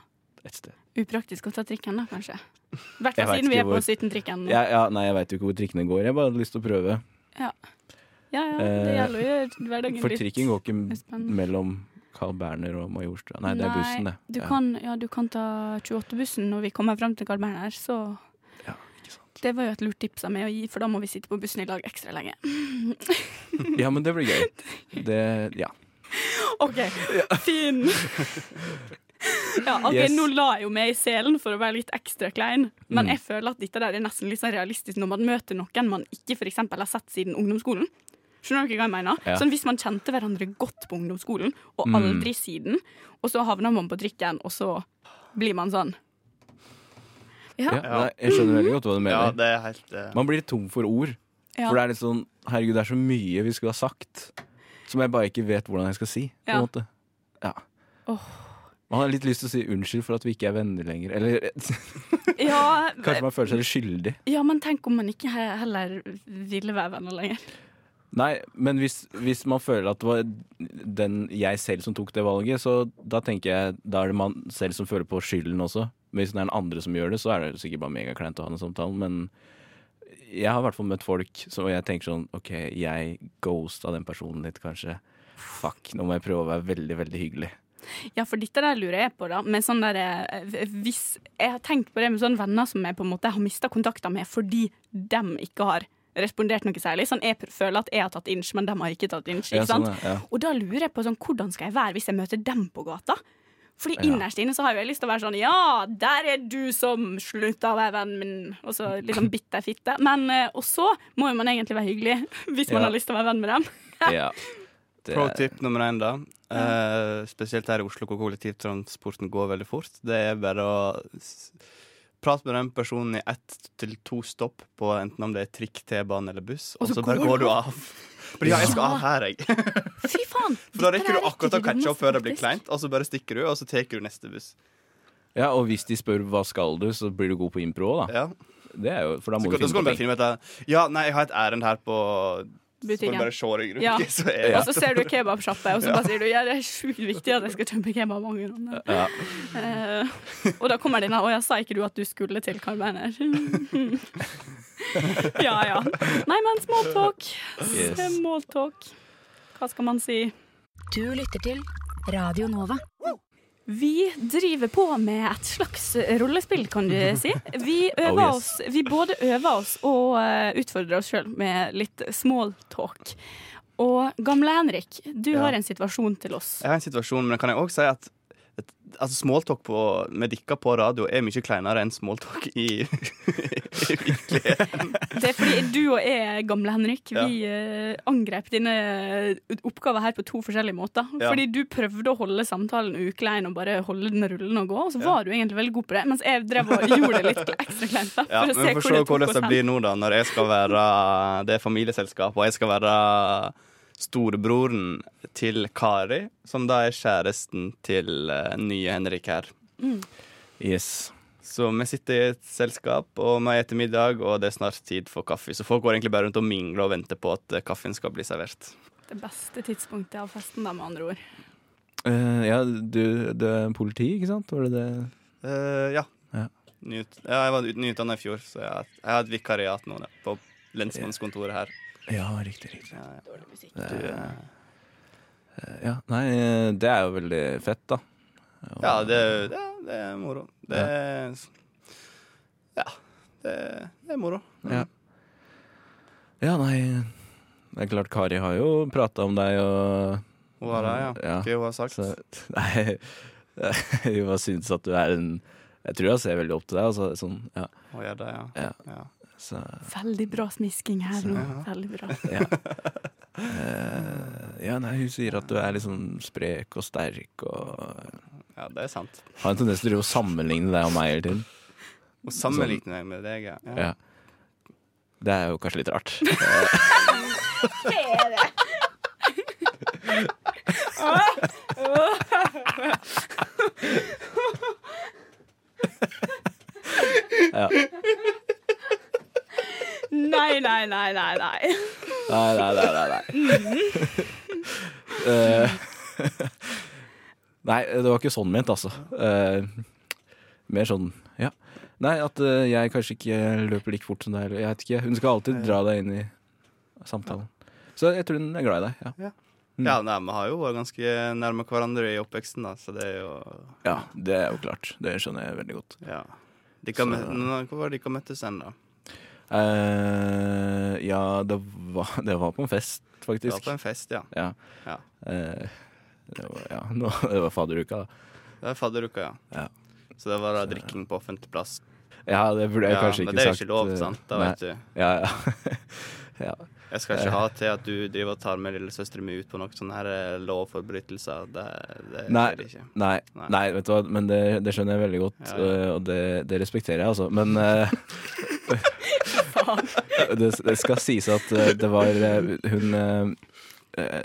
E: Et sted.
C: Upraktisk å ta trikken da, kanskje. I hvert
E: Jeg
C: fall
E: vet
C: siden vi er
E: ikke
C: på
E: hvor.
C: 17-trikken.
E: Ja, ja, nei, jeg veit jo ikke hvor trikkene går. Jeg bare hadde lyst til å prøve.
C: Ja, ja, det
E: Eh,
C: gjelder å gjøre hverdagen
E: For trikken går
C: Det er
E: ikke
C: spennende.
E: mellom Carl Berner og Majorstua. Nei, det er bussen, det.
C: Du,
E: Ja.
C: kan, ja, du kan ta 28-bussen når vi kommer frem til Carl Berner, så
E: Ja, ikke sant.
C: det var jo et lurt tips av meg å gi, for da må vi sitte på bussen i lag ekstra lenge.
E: ja, men det blir gøy. Det Ja.
C: OK, fin! Ja, ok,
E: Yes.
C: Nå la jeg jo meg i selen for å være litt ekstra klein, men
E: Mm.
C: jeg føler at dette der er nesten litt sånn realistisk når man møter noen man ikke for eksempel har sett siden ungdomsskolen. Skjønner dere hva jeg mener?
E: Ja.
C: Sånn Hvis man kjente hverandre godt på ungdomsskolen, og
E: Mm.
C: aldri siden, og så havner man på trikken, og så blir man sånn.
E: ja.
C: Ja.
E: Nei, jeg skjønner veldig godt hva du
D: Ja,
E: mener.
D: det er helt eh,
E: Man blir tom for ord.
C: Ja.
E: For det er litt sånn Herregud, det er så mye vi skulle ha sagt som jeg bare ikke vet hvordan jeg skal si. På en
C: Ja.
E: måte. Ja.
C: Åh.
E: Man har litt lyst til å si unnskyld for at vi ikke er venner lenger. Eller [LAUGHS]
C: Ja,
E: kanskje man føler seg litt skyldig.
C: ja, men tenk om man ikke he- heller ville være venner lenger.
E: Nei, men hvis, hvis man føler at det var den jeg selv som tok det valget, så da tenker jeg da er det man selv som føler på skylden også. Men hvis det er den andre som gjør det, så er det sikkert bare megakleint å ha den samtalen. Men jeg har i hvert fall møtt folk som og jeg tenker sånn OK, jeg ghosta den personen litt, kanskje. Fuck, nå må jeg prøve å være veldig, veldig hyggelig.
C: Ja, for dette der lurer jeg på, da. Med sånn der, eh, hvis jeg har tenkt på det med sånne venner som jeg på en måte har mista kontakta med fordi dem ikke har respondert noe særlig. Sånn, Jeg pr- føler at jeg har tatt inch, men dem har ikke tatt inch.
E: Ja,
C: Ikke sant?
E: sånn, ja.
C: Og da lurer jeg på sånn, hvordan skal jeg være hvis jeg møter dem på gata? Fordi
E: Ja.
C: innerst inne så har jo jeg lyst til å være sånn Ja, der er du som slutta å være vennen min. Og så liksom bitter fitte. Men eh, Og så må jo man egentlig være hyggelig [LAUGHS] hvis man
E: Ja.
C: har lyst til å være venn med
D: [LAUGHS]
C: dem.
E: Ja. Det-
D: Pro tip nummer én, da. Eh, spesielt her i Oslo, hvor kollektivtransporten går veldig fort. Det er bare å s- prate med den personen i ett til to stopp på enten om det er trikk, T-bane eller buss, og så bare går du av. Fordi, ja, jeg skal av her, jeg.
C: Fy faen!
D: For da
C: dette
D: rekker
C: er
D: du akkurat å
C: det
D: catche
C: dummeste,
D: opp før det blir
C: faktisk.
D: kleint, og så bare stikker du, og så tar du neste buss.
E: Ja, og hvis de spør hva skal du, så blir du god på impro òg, da.
D: Ja.
E: Det er jo, for da
D: Så,
E: må
D: kan-
E: du
D: da skal du
E: finne
D: bare
E: på ting.
D: finne ut at Ja, nei, jeg har et ærend her på Så kan du
C: Butikken.
D: bare se deg rundt.
C: Ja.
D: Så er
C: Og så ser du kebabsjappe, og så bare sier du ja, det er sjukt viktig at jeg skal kjøpe kebab. mange ganger».
E: Ja.
C: Eh, og da kommer den her, å ja, sa ikke du at du skulle til Carl Berner? [LAUGHS] ja ja. Nei, men small talk.
E: Yes.
C: Small talk. Hva skal man si?
H: Du lytter til Radio Nova.
C: Vi driver på med et slags rollespill, kan du si. Vi, øver
E: [LAUGHS] Oh, yes.
C: oss, vi både øver oss og eh, utfordrer oss sjøl med litt small talk. Og gamle Henrik, du
D: Ja.
C: har en situasjon til oss.
D: Jeg har en situasjon, men kan jeg òg si at et, altså smalltalk på, med dere på radio er mye kleinere enn smalltalk i, i virkeligheten.
C: Det er fordi du og jeg, gamle Henrik, vi eh, angrep dine eh, oppgaver her på to forskjellige måter.
D: Ja.
C: Fordi du prøvde å holde samtalen uklein og bare holde den rullende og gå, og så var du egentlig veldig god på det, mens jeg drev og gjorde det litt ekstra kleint. da, [LAUGHS]
D: Ja,
C: for å
D: men
C: se
D: vi får
C: hvor
D: se
C: det tok
D: hvordan
C: oss
D: det
C: hen.
D: blir nå, da, når jeg skal være det er familieselskap, og jeg skal være storebroren til Kari, som da er kjæresten til eh, nye Henrik her.
C: Mm.
E: Yes.
D: Så vi sitter i et selskap, og vi spiser middag, og det er snart tid for kaffe. Så folk går egentlig bare rundt og mingler og venter på at eh, kaffen skal bli servert.
C: Det beste tidspunktet av festen, da, med andre ord.
E: Eh, ja, du, du er politi, ikke sant? Var det det?
D: Eh, ja.
E: Ja.
D: Nyut, ja. Jeg var ut- nyutdannet i fjor, så jeg har, jeg har et vikariat nå da, på lensmannskontoret her.
E: Ja, riktig, riktig.
D: Ja, ja.
E: Det,
D: Du, eh,
E: eh, ja, nei, eh, det er jo veldig fett, da. Og-
D: ja, det, ja, det er moro. Det er Ja. Det, det er moro.
E: Ja. ja, nei Det er klart, Kari har jo prata om deg og
D: Hun har det, ja.
E: Ja.
D: Hva hun har sagt.
E: så, [LAUGHS] Nei, hun har syntes at du er en Jeg tror jeg ser veldig opp til deg, altså. Sånn, ja.
D: Hun gjør det, ja.
E: Ja.
D: ja.
E: Så,
C: Veldig bra smisking her nå. Veldig bra.
E: eh, ja, nei, hun sier at du er liksom sprek og sterk og
D: Ja, det er sant.
E: Har en tendens til å drive og sammenligne deg og meg hele tiden.
D: Hun sammenligner meg med deg, ja. ja.
E: Ja. Det er jo kanskje litt rart.
C: Nei, nei, nei, nei. nei.
E: Nei, nei, nei, nei. Nei, Eh, [LAUGHS] nei det var ikke sånn ment, altså. Eh, mer sånn, ja. Nei, at eh, jeg kanskje ikke løper like fort som deg. eller Jeg vet ikke, Hun skal alltid dra deg inn i samtalen. Så jeg tror hun er glad i deg. Ja,
D: ja nei, Vi har jo vært ganske nærme hverandre i oppveksten, da, så det er jo
E: ja det er jo klart. Det skjønner jeg veldig godt.
D: Ja. De kan
E: Så-
D: mø- Nå, Hvor var det de kan møttes hen, da?
E: Eh, ja, det var, [LAUGHS] det var på en fest,
D: Det var
E: faktisk.
D: på en fest, ja.
E: Ja.
D: Ja.
E: Eh, det var, ja, nå, [LAUGHS] det var fadderuka, da.
D: Det var fadderuka, ja.
E: Ja.
D: Så det var da drikking på offentlig plass.
E: Ja, det burde jeg
D: ja,
E: kanskje
D: men
E: ikke
D: det er
E: sagt.
D: ikke lov,
E: eh,
D: sant? Da
E: nei.
D: vet du.
E: Ja, ja. [LAUGHS] ja.
D: Jeg skal ikke ha til at du driver og tar med lillesøsteren min ut på noen sånne her eh, lovforbrytelser. Det, det
E: Nei,
D: skjer ikke.
E: nei,
D: Nei.
E: nei, vet du hva, men det, det skjønner jeg veldig godt,
D: Ja, ja.
E: eh, og det, det respekterer jeg, altså. Men
D: [LAUGHS]
E: eh, [LAUGHS] det, det skal sies at eh, det var eh, hun eh, eh,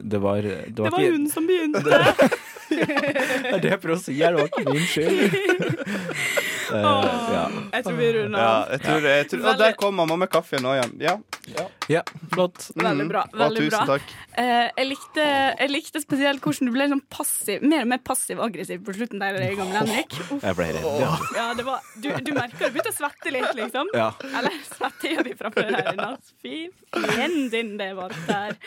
E: det var, det
C: Det
E: var,
C: var
E: ikke- [LAUGHS]
C: hun som begynte.
E: Det er det jeg prøver å si her, det var ikke min
C: [LAUGHS]
E: skyld. Eh, ja.
C: Jeg tror vi runder
D: Ja,
C: av.
D: jeg tror, det- jeg tror, Å, der kom mamma med kaffen nå igjen. Ja.
E: ja, flott.
C: Veldig bra,
D: Mm. Å,
C: veldig
D: tusen
C: bra.
D: takk.
C: Eh, jeg, likte, jeg likte spesielt hvordan du ble sånn passiv, mer og mer passiv-aggressiv på slutten der, gamle Henrik. Uff,
E: Jeg ble redd. Ja.
C: ja, det var, du, du merker du begynte å svette litt, liksom.
E: Ja.
C: Eller [LAUGHS] svette gjør vi framfor her inne. altså. Fy fien din, det var der.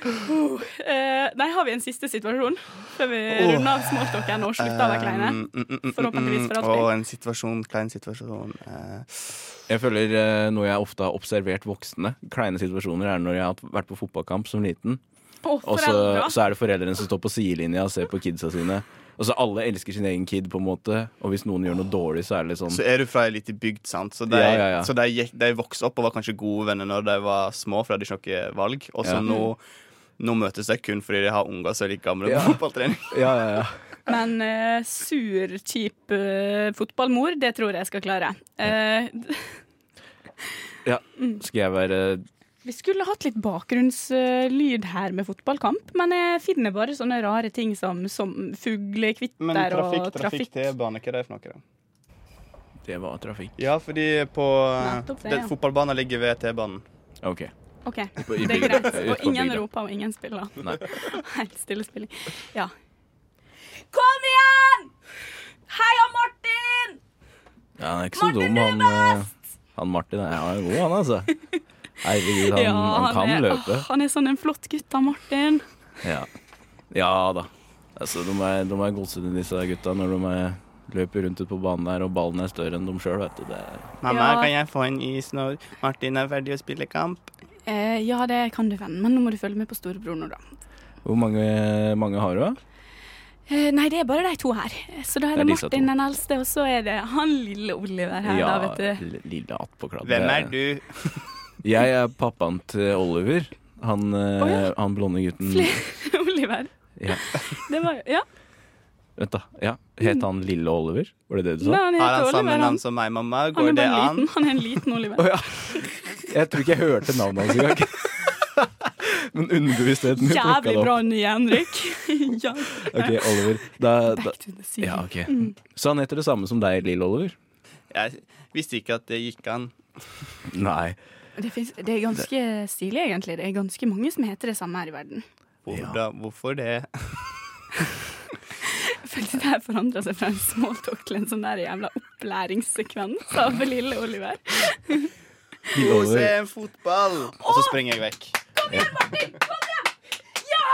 C: Uh, eh, nei, har vi en siste situasjon før vi runder av smalltalken og slutter å være kleine?
E: Ehm,
D: Um, mm, mm, mm,
C: Forhåpentligvis for
D: mm,
C: alltid.
D: Å, en situasjon, klein situasjon. Eh,
E: Jeg føler eh, noe jeg ofte har observert voksne. Kleine situasjoner er når jeg har vært på fotballkamp som liten,
C: Å,
E: og så,
C: foreldre.
E: så er det foreldrene som står på sidelinja og ser på kidsa sine. Og så alle elsker sin egen kid, på en måte, og hvis noen gjør noe dårlig, så er det litt sånn
D: så er du fra ei lita bygd, sant, så, de,
E: Ja, ja, ja.
D: så de, gikk, de vokste opp og var kanskje gode venner når de var små, for de hadde ikke noe valg. Og så
E: Ja.
D: nå, nå møtes de kun fordi de har unger som er like gamle
E: Ja.
D: på fotballtrening. [LAUGHS]
E: Ja, ja, ja.
C: Men eh, sur, kjip eh, fotballmor, det tror jeg skal klare. Eh,
E: Skal jeg være
C: vi skulle hatt litt bakgrunnslyd her med fotballkamp, men jeg finner bare sånne rare ting som, som fuglekvitter og trafikk.
D: T-bane, hva er det for noe?
E: Det var trafikk.
D: Ja, fordi på
C: Nettopp det,
D: den
C: ja.
D: Fotballbanen ligger ved T-banen.
E: OK.
C: OK,
E: [LAUGHS]
C: det
E: i
C: er
E: bygda.
C: greit.
E: Ut
C: Og
E: på
C: ingen
E: bygda.
C: roper, og ingen spiller.
E: Nei.
C: [LAUGHS] Helt stille spilling. Ja. Kom igjen! Heia Martin!
E: Ja, han er ikke så dum, han, eh, han Martin. Er, han er god, han, altså. Herregud, han,
C: Ja,
E: han kan
C: er,
E: løpe.
C: åh, han er sånn en flott gutt, da, Martin.
E: Ja, ja da. Altså, de er, de er godsene, disse gutta, når de er, løper rundt ut på banen der, og ballen er større enn dem sjøl, vet du. Det er
D: Mamma,
C: Ja.
D: kan jeg få en is når Martin er ferdig å spille kamp?
C: Eh, ja, det kan du, venn, men nå må du følge med på storebror nå, da.
E: Hvor mange, mange har du, da?
C: Eh, Nei, det er bare de to her. Så da er
E: Det er
C: det,
E: disse
C: Martin
E: to.
C: den eldste, og så er det han lille Oliver her, da, vet du. [LAUGHS]
E: l- lille attpåkladd.
D: Hvem er du?
E: Jeg er pappaen til Oliver. Han, eh,
C: Å, ja.
E: han blonde gutten
C: Flere Oliver.
E: ja.
C: Det var jo Ja,
E: Vent, da. Ja. Het han Lille Oliver? Var det det du
C: nei,
E: sa?
C: han
D: Har
C: heter
D: han samme
C: Oliver. Han,
D: navn som meg, mamma?
C: han
D: Går
C: er
D: det
C: bare [LAUGHS]
D: an?
C: liten. Han er en liten Oliver.
E: Å, ja. Jeg tror ikke jeg hørte navnet hans engang. [LAUGHS] Men underbevisstheten min plukka
C: Jævlig
E: det
C: bra
E: opp.
C: nye, Henrik. [LAUGHS] ja.
E: Ok, Oliver. Da, da,
C: Back to the scene.
E: ja, ok. Så han heter det samme som deg, Lill Oliver?
D: Jeg visste ikke at det gikk an.
E: Nei.
C: Det, finnes, det er ganske stilig, egentlig. Det er ganske mange som heter det samme her i verden. [LAUGHS]
D: Hvor
E: Ja.
D: da, hvorfor det?
C: Følte det her forandra seg fra en smalltalk til en sånn der jævla opplæringssekvens av lille Oliver.
E: Lill
D: Å, se
E: Oliver.
D: en fotball! Og så springer jeg vekk.
C: Ja,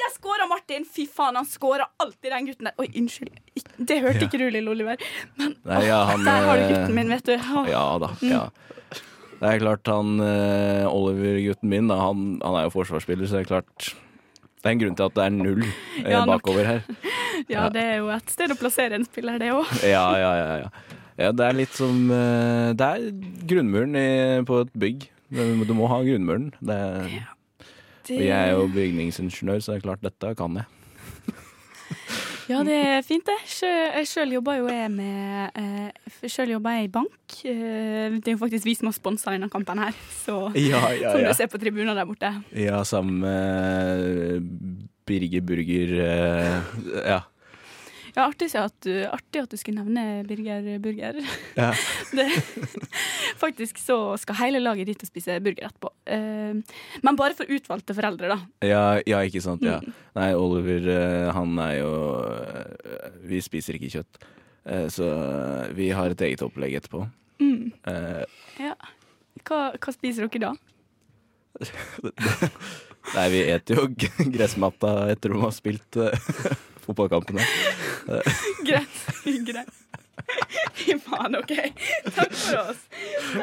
C: der skåra Martin! Fy faen, han skåra alltid den gutten der. Oi, unnskyld. Ik- Det hørte ikke du, lille Oliver. Men
E: Nei, ja, han
C: [LAUGHS] der har du
E: eh,
C: gutten min, Mm. vet du. Å,
E: Ja da. Ja. Det er klart han eh, Oliver, gutten min, da, han, han er jo forsvarsspiller, så det er klart Det er en grunn til at det er null eh,
C: Ja, nok.
E: bakover her.
C: Ja, det er jo et sted å plassere en spiller, det òg.
E: Ja, ja, ja. ja. ja det er litt som eh, Det er grunnmuren i, på et bygg. Du må ha grunnmuren. Det er, og jeg er jo bygningsingeniør, så det er klart dette kan jeg.
C: Ja, det er fint, det. Sjø- jeg Sjøl jobber jo jeg med eh, f- Sjøl jobber jeg i bank. Eh, det er jo faktisk vi som har sponsa denne kampen her, så
E: [LAUGHS] Ja, ja,
C: Som du ser på tribunen der borte.
E: Ja, sammen med Birger Burger eh, Ja.
C: Ja, artig, så at du, artig at du skulle nevne Birger Burger.
E: Ja.
C: [LAUGHS] Det, faktisk så skal hele laget dit og spise burger etterpå. Eh, men bare for utvalgte foreldre, da.
E: Ja, ja, ikke sant. Ja. Nei, Oliver, eh, han er jo eh, Vi spiser ikke kjøtt. Eh, Så vi har et eget opplegg etterpå. Eh,
C: Hva, hva spiser dere da?
E: Nei, vi eter jo g- [LAUGHS] gressmatta etter at man har spilt eh, [LAUGHS] fotballkampene.
C: Greit. Greit. [LAUGHS] Fy faen, OK. Takk for oss.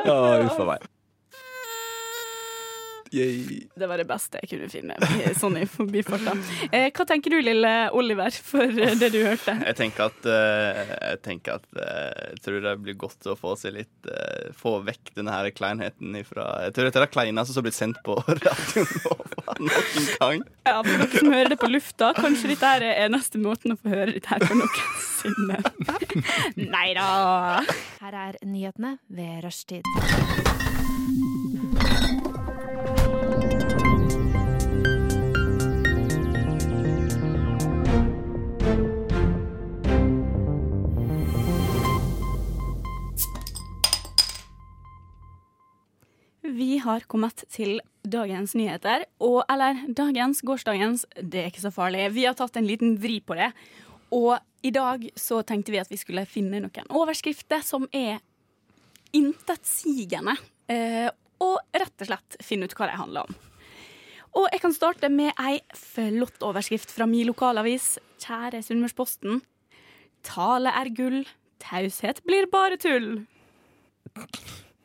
E: Ja, uff a meg. Yay.
C: Det var det beste jeg kunne finne i- sånn i forbifarta. Eh, hva tenker du, lille Oliver, for eh, det du hørte?
D: Jeg tenker at, eh, jeg, tenker at eh, jeg tror det blir godt å få seg litt eh, Få vekk denne her kleinheten ifra Jeg tror dette er det kleineste som har blitt sendt på [LAUGHS] radioen nå, noen gang.
C: Ja, for dere som hører det på lufta, kanskje dette her er neste måten å få høre dette her på noensinne. Nei da.
H: Her er nyhetene ved rushtid.
C: Vi har kommet til dagens nyheter, og eller dagens, gårsdagens, det er ikke så farlig. Vi har tatt en liten vri på det. Og i dag så tenkte vi at vi skulle finne noen overskrifter som er intetsigende. eh, Og rett og slett finne ut hva de handler om. Og jeg kan starte med ei flott overskrift fra min lokalavis, kjære Sunnmørsposten. Tale er gull, taushet blir bare tull.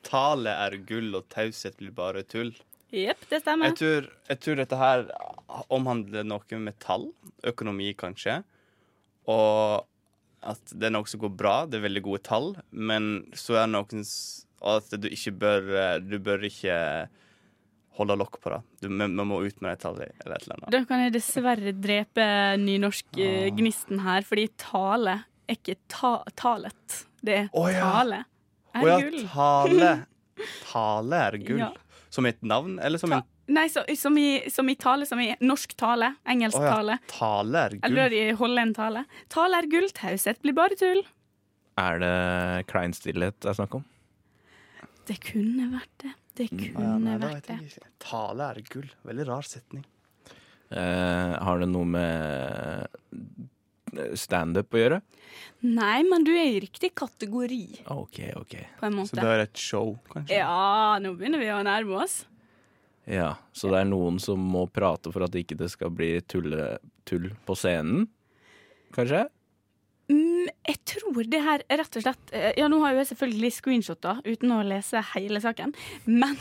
D: Tale er gull, og taushet blir bare tull.
C: Jepp, det stemmer.
D: Jeg tror, jeg tror dette her omhandler noe med tall. Økonomi, kanskje. Og at det er noe som går bra. Det er veldig gode tall. Men så er det noen s- Og at du ikke bør eh, Du bør ikke holde lokk på det. Du, vi, vi må ut med de tallene, eller et eller annet.
C: Da kan jeg dessverre drepe nynorskgnisten her, fordi tale er ikke ta talet. Det er
D: Å ja.
C: tale. Er
D: Å ja,
C: gull.
D: tale. [LAUGHS] Tale er gull.
C: Ja.
D: Som et navn, eller som
C: Ta-
D: en
C: Nei, så, som, i, som i tale, som i norsk tale. Engelsk
D: Å ja,
C: tale.
D: Tale er
C: Eller
D: gull.
C: i Holland-tale. Tale er gull, taushet blir bare tull.
E: Er det klein stillhet det er snakk om?
C: Det kunne vært det. Det
D: Å Mm, ja,
C: kunne
D: nei, da vet
C: vært det.
D: jeg ikke. Tale er gull. Veldig rar setning.
E: Eh, har det noe med eh, standup å gjøre?
C: Nei, men du er i riktig kategori,
E: OK, OK.
C: på en
D: Så
C: måte.
D: det er et show, kanskje.
C: Ja, nå begynner vi å nærme oss.
E: Ja, Så det er noen som må prate for at ikke det skal bli tulle, tull på scenen? Kanskje?
C: Mm, jeg tror det her er rett og slett eh, Ja, nå har jo jeg selvfølgelig screenshotter uten å lese hele saken, men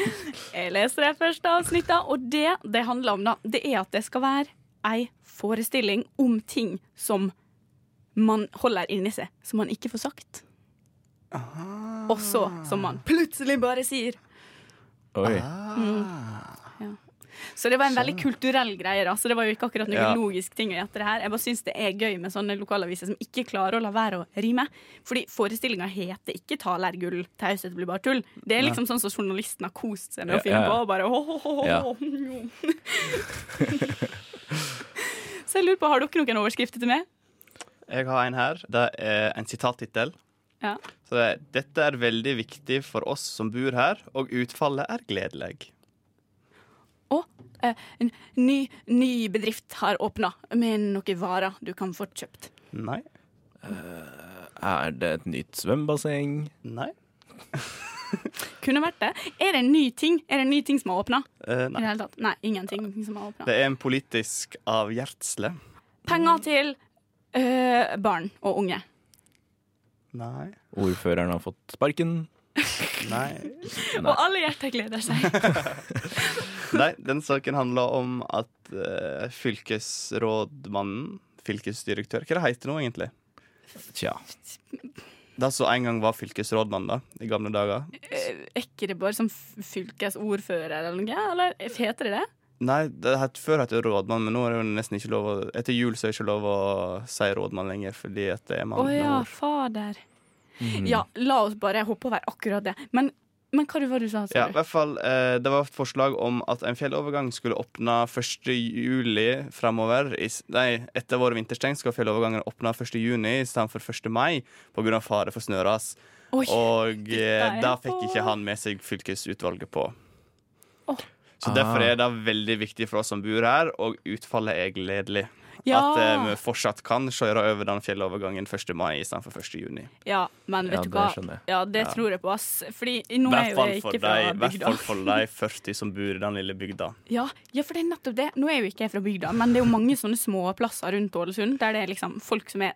C: [LAUGHS] jeg leser det første avsnittet, og det det handler om, da, det er at det skal være ei forestilling om ting som man holder inni seg, som man ikke får sagt. Og
D: Ah.
C: så som man plutselig bare sier.
E: Oi.
C: Mm. Ja. Så det var en veldig
E: Sånn,
C: kulturell greie. da Så det var jo ikke akkurat noen
D: Ja.
C: logisk ting å gjette det her. Jeg bare syns det er gøy med sånne lokalaviser som ikke klarer å la være å rime. Fordi forestillinga heter ikke 'Talergull, taushet blir bare tull'. Det er liksom sånn som journalisten har kost seg med å
E: Ja, ja,
C: finne
E: ja.
C: på. Og bare ho, ho, ho, ho. [LAUGHS]
E: Ja.
C: Så jeg lurer på, har dere noen overskrifter til meg?
D: Jeg har en her. Det er en sitattittel.
C: Ja.
D: Så det er, Dette er veldig viktig for oss som bor her, og utfallet er gledelig.
C: Og eh, en ny, ny bedrift har åpna med noen varer du kan få kjøpt.
D: Nei.
E: Er det et nytt svømmebasseng?
D: Nei.
C: Kunne vært det. Er det en ny ting Er det en ny ting som har åpna?
D: Eh, nei.
C: Nei. Nei, ingenting som har åpna.
D: Det er en politisk avhjertsle.
C: Penger til eh, barn og unge.
D: Nei.
E: Ordføreren har fått sparken.
D: Nei.
C: Og alle hjerter gleder seg.
D: Nei, den saken handler om at eh, fylkesrådmannen, fylkesdirektør Hva det heter nå, egentlig?
E: Tja.
D: Det som en gang var fylkesrådmann, da, i gamle dager.
C: [LAUGHS] Eh, Er ikke det bare som f- fylkesordfører eller noe? Eller heter det det?
D: Nei, det het, før het det rådmann, men nå er det jo nesten ikke lov å Etter jul så er det ikke lov å si rådmann lenger, fordi at det er
C: Å
D: mann.
C: ja,
D: og-
C: fader.
D: Mhm.
C: Ja, la oss bare hoppe over akkurat det. Men, men hva var det du sa?
D: Ja,
C: sa
D: i
C: du?
D: hvert fall, eh, Det var et forslag om at en fjellovergang skulle åpne 1. juli framover. I, s- nei, etter vår vintersteng skal fjellovergangen åpne 1. juni i stedet for 1. mai pga. fare for snøras.
C: Oi,
D: Og eh,
C: er
D: da
C: på.
D: fikk ikke han med seg fylkesutvalget på.
C: Åh.
D: Så derfor er det veldig viktig for oss som bor her, og utfallet er gledelig.
C: Ja.
D: At eh, vi fortsatt kan kjøre over den fjellovergangen 1. mai istedenfor 1. juni.
C: ja, men vet
E: Ja,
C: du
E: det
C: hva?
E: skjønner jeg.
C: Ja, det tror jeg på, ass. Fordi nå
D: I
C: er
D: hvert
C: jo
D: fall
C: jeg
D: for
C: ikke fra
D: de- hvert
C: bygda.
D: fall for de 40 som bor i den lille bygda.
C: Ja, ja, for det er nettopp det. Nå er jo ikke jeg fra bygda, men det er jo mange sånne småplasser rundt Ålesund der det er liksom folk som er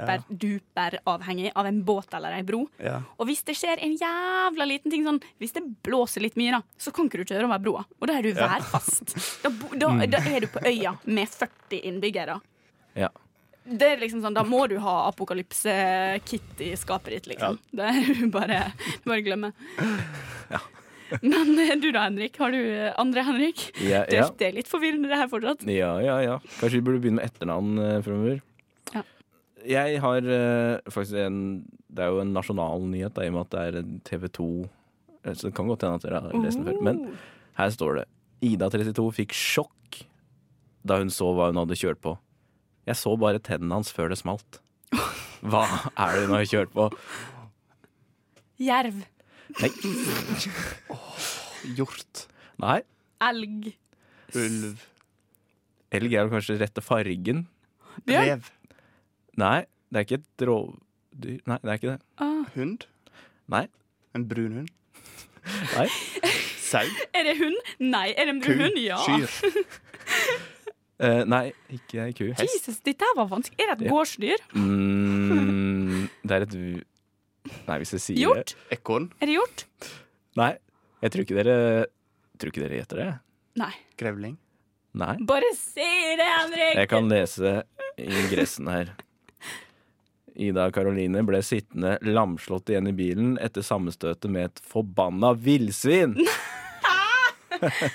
C: super-duper-duper avhengig av en båt eller ei bro.
D: Ja.
C: Og hvis det skjer en jævla liten ting sånn, hvis det blåser litt mye, da, så kan ikke du kjøre over broa. Og da er du værfast. Da, bo- da, da er du på øya med 40 innbyggere.
E: Mm. Ja.
C: Det er liksom sånn, Da må du ha apokalypse-kit i skapet ditt, liksom. Det er du bare, bare glemme. Men eh, du da, Henrik. Har du eh, andre, Henrik?
E: Ja,
C: Det,
E: ja.
C: er- det er litt forvirrende det her fortsatt.
E: ja, ja, ja. Kanskje vi burde begynne med etternavn eh, fremover.
C: Ja.
E: Jeg har eh, faktisk en Det er jo en nasjonal nyhet, da, i og med at det er TV 2. Eh, Så det kan godt hende at dere har lest den før. Men
C: Oh.
E: her står det Ida 32 fikk sjokk da hun så hva hun hadde kjørt på. Jeg så bare tennene hans før det smalt. Hva er det hun har kjørt på?
C: Jerv.
E: Nei.
D: Hjort.
E: Nei.
C: Elg.
D: Ulv.
E: Elg er vel kanskje rette fargen?
C: Bjørn.
D: Rev.
E: Nei, det er ikke et rovdyr. Nei, det er ikke det.
D: Hund.
E: Nei.
D: En brun hund.
E: Nei.
D: Sau.
C: Er det hund? Nei. Er det en brun hund? Ja.
D: Kyr.
E: Eh, nei, ikke ei ku.
C: Jesus, dette her var vanskelig. Er det et
E: Ja.
C: gårdsdyr?
E: Mm, det er et vu- Nei, hvis jeg sier
C: Hjort?
D: Ekorn.
C: Er det hjort?
E: Nei, jeg tror ikke dere Tror ikke dere gjetter det.
C: Nei.
D: Grevling.
E: Nei.
C: Bare si det, Henrik!
E: Jeg kan lese ingressen her. Ida Karoline ble sittende lamslått igjen i bilen etter sammenstøtet med et forbanna villsvin.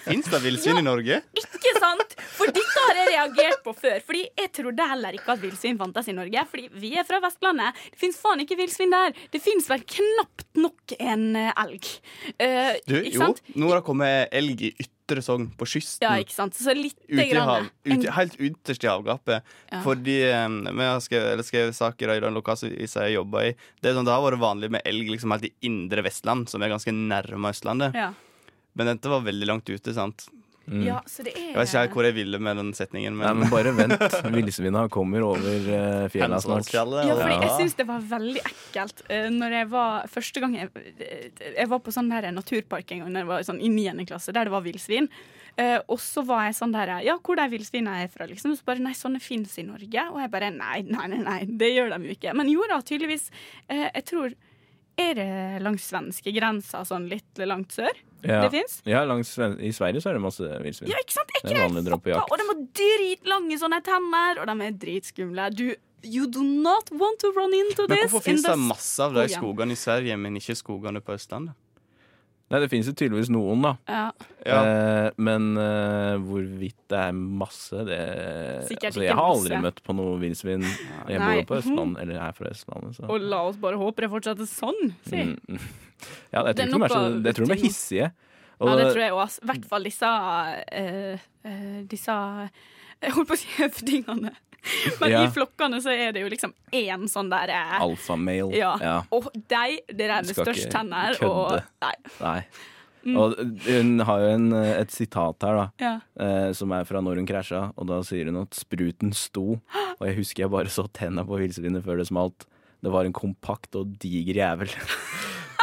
D: Fins det villsvin i Norge?
C: Ikke sant? For dette har jeg reagert på før. Fordi jeg trodde heller ikke at villsvin fantes i Norge. Fordi vi er fra Vestlandet. Det fins faen ikke villsvin der. Det fins vel knapt nok en eh, elg. Eh,
D: Du,
C: ikke
D: jo,
C: sant?
D: nå har det kommet elg i Ytre Sogn, på kysten.
C: Ja, ikke sant? Så
D: Mm. Ute
C: lite
D: i hav,
C: grann.
D: ute, helt ytterst i havgapet. Fordi eh, vi har skrevet, eller skrevet saker i den lokalisa jeg jobber i. Det, er sånn, det har vært vanlig med elg liksom, helt i indre Vestland, som er ganske nærme Østlandet.
C: Ja.
D: Men dette var veldig langt ute. sant?
C: ja, så det er
D: Mm. Jeg vet ikke helt hvor jeg ville med den setningen.
E: Nei,
D: Men
E: men bare vent. Villsvina kommer over eh, fjella snart.
D: Hemsedalsfjellet,
C: Ja,
D: og-
C: fordi jeg syns det var veldig ekkelt eh, Når jeg var første gang jeg, jeg var på sånn der naturpark en gang Når jeg var sånn i 9. klasse, der det var villsvin. Eh, og så var jeg sånn der Ja, hvor de villsvinene er fra, liksom. Og så bare Nei, sånne fins i Norge. Og jeg bare Nei, nei, nei, nei det gjør de jo ikke. Men jo da, tydeligvis. Eh, jeg tror Er det langs svenskegrensa, sånn litt langt sør?
E: Ja.
C: Det fins?
E: Ja, langs, Sven- I Sverige så er det masse villsvin.
C: Ja, ikke sant? Er
E: Det
C: ikke
E: er
C: det
E: vanlig å
C: helt
E: dra på
C: fucka?
E: jakt.
C: Og de har dritlange sånne tenner, og de er dritskumle. Du, you do not want to run into
D: Men
C: this.
D: hvorfor
C: in
D: finnes
C: the
D: det masse av de
C: skogen?
D: skogene i Sverige, men ikke skogene på Østlandet?
E: Nei, det finnes jo tydeligvis noen, da.
C: Ja.
D: Ja.
E: Eh, men eh, hvorvidt det er masse, det
C: Sikkert
E: altså,
C: ikke
E: Jeg har aldri
C: masse.
E: møtt på noe villsvin. Jeg bor
C: Nei. Mhm.
E: jo på Østlandet, eller er fra Østlandet, så
C: Og la oss bare håpe det fortsetter sånn, si.
E: Mm, mm. Ja, jeg
C: Det er
E: tror, ikke de er så,
C: noe
E: jeg tror de er
C: ting.
E: hissige. Og
C: Ja, det tror jeg òg. I hvert fall disse eh, eh, Disse Jeg holdt på å si høvdingene. [LAUGHS] Men
E: Ja.
C: i flokkene så er det jo liksom én sånn der eh,
E: Alfamale.
C: ja.
E: Ja.
C: Og de, det der med
E: Skal ikke
C: størst tenner og
E: kødde.
C: Nei.
E: Nei.
C: Mm.
E: Og hun har jo en, eh, et sitat her, da.
C: Ja.
E: eh, som er fra når hun krasja, og da sier hun at spruten sto, og jeg husker jeg bare så tenna på villsvinet før det smalt. Det var en kompakt og diger jævel. [LAUGHS]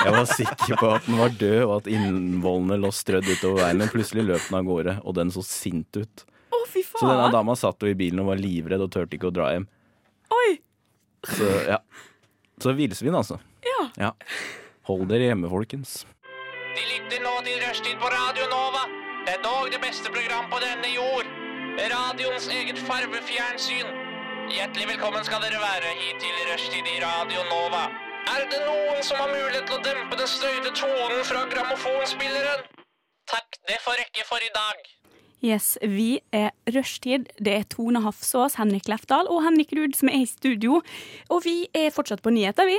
E: Jeg var sikker på at den var død, og at innvollene lå strødd utover veien, men plutselig løp den av gårde, og den så sint ut.
C: Å, fy
E: Så denne
C: faen!
E: dama satt jo i bilen og var livredd og turte ikke å dra hjem.
C: Oi!
E: Så ja. Så villsvin, altså.
C: Ja.
E: Hold dere hjemme, folkens.
J: De lytter nå til Rushtid på Radio Nova. Det er dog det beste program på denne jord. Radioens eget farvefjernsyn. Hjertelig velkommen skal dere være hit til Rushtid i Radio Nova. Er det noen som har mulighet til å dempe den støyte tonen fra grammofonspilleren? Takk, det får rekke for i dag.
C: Yes, vi er Rushtid. Det er Tone Hafsås, Henrik Lefdal og Henrik Ruud som er i studio. Og vi er fortsatt på nyheter, vi.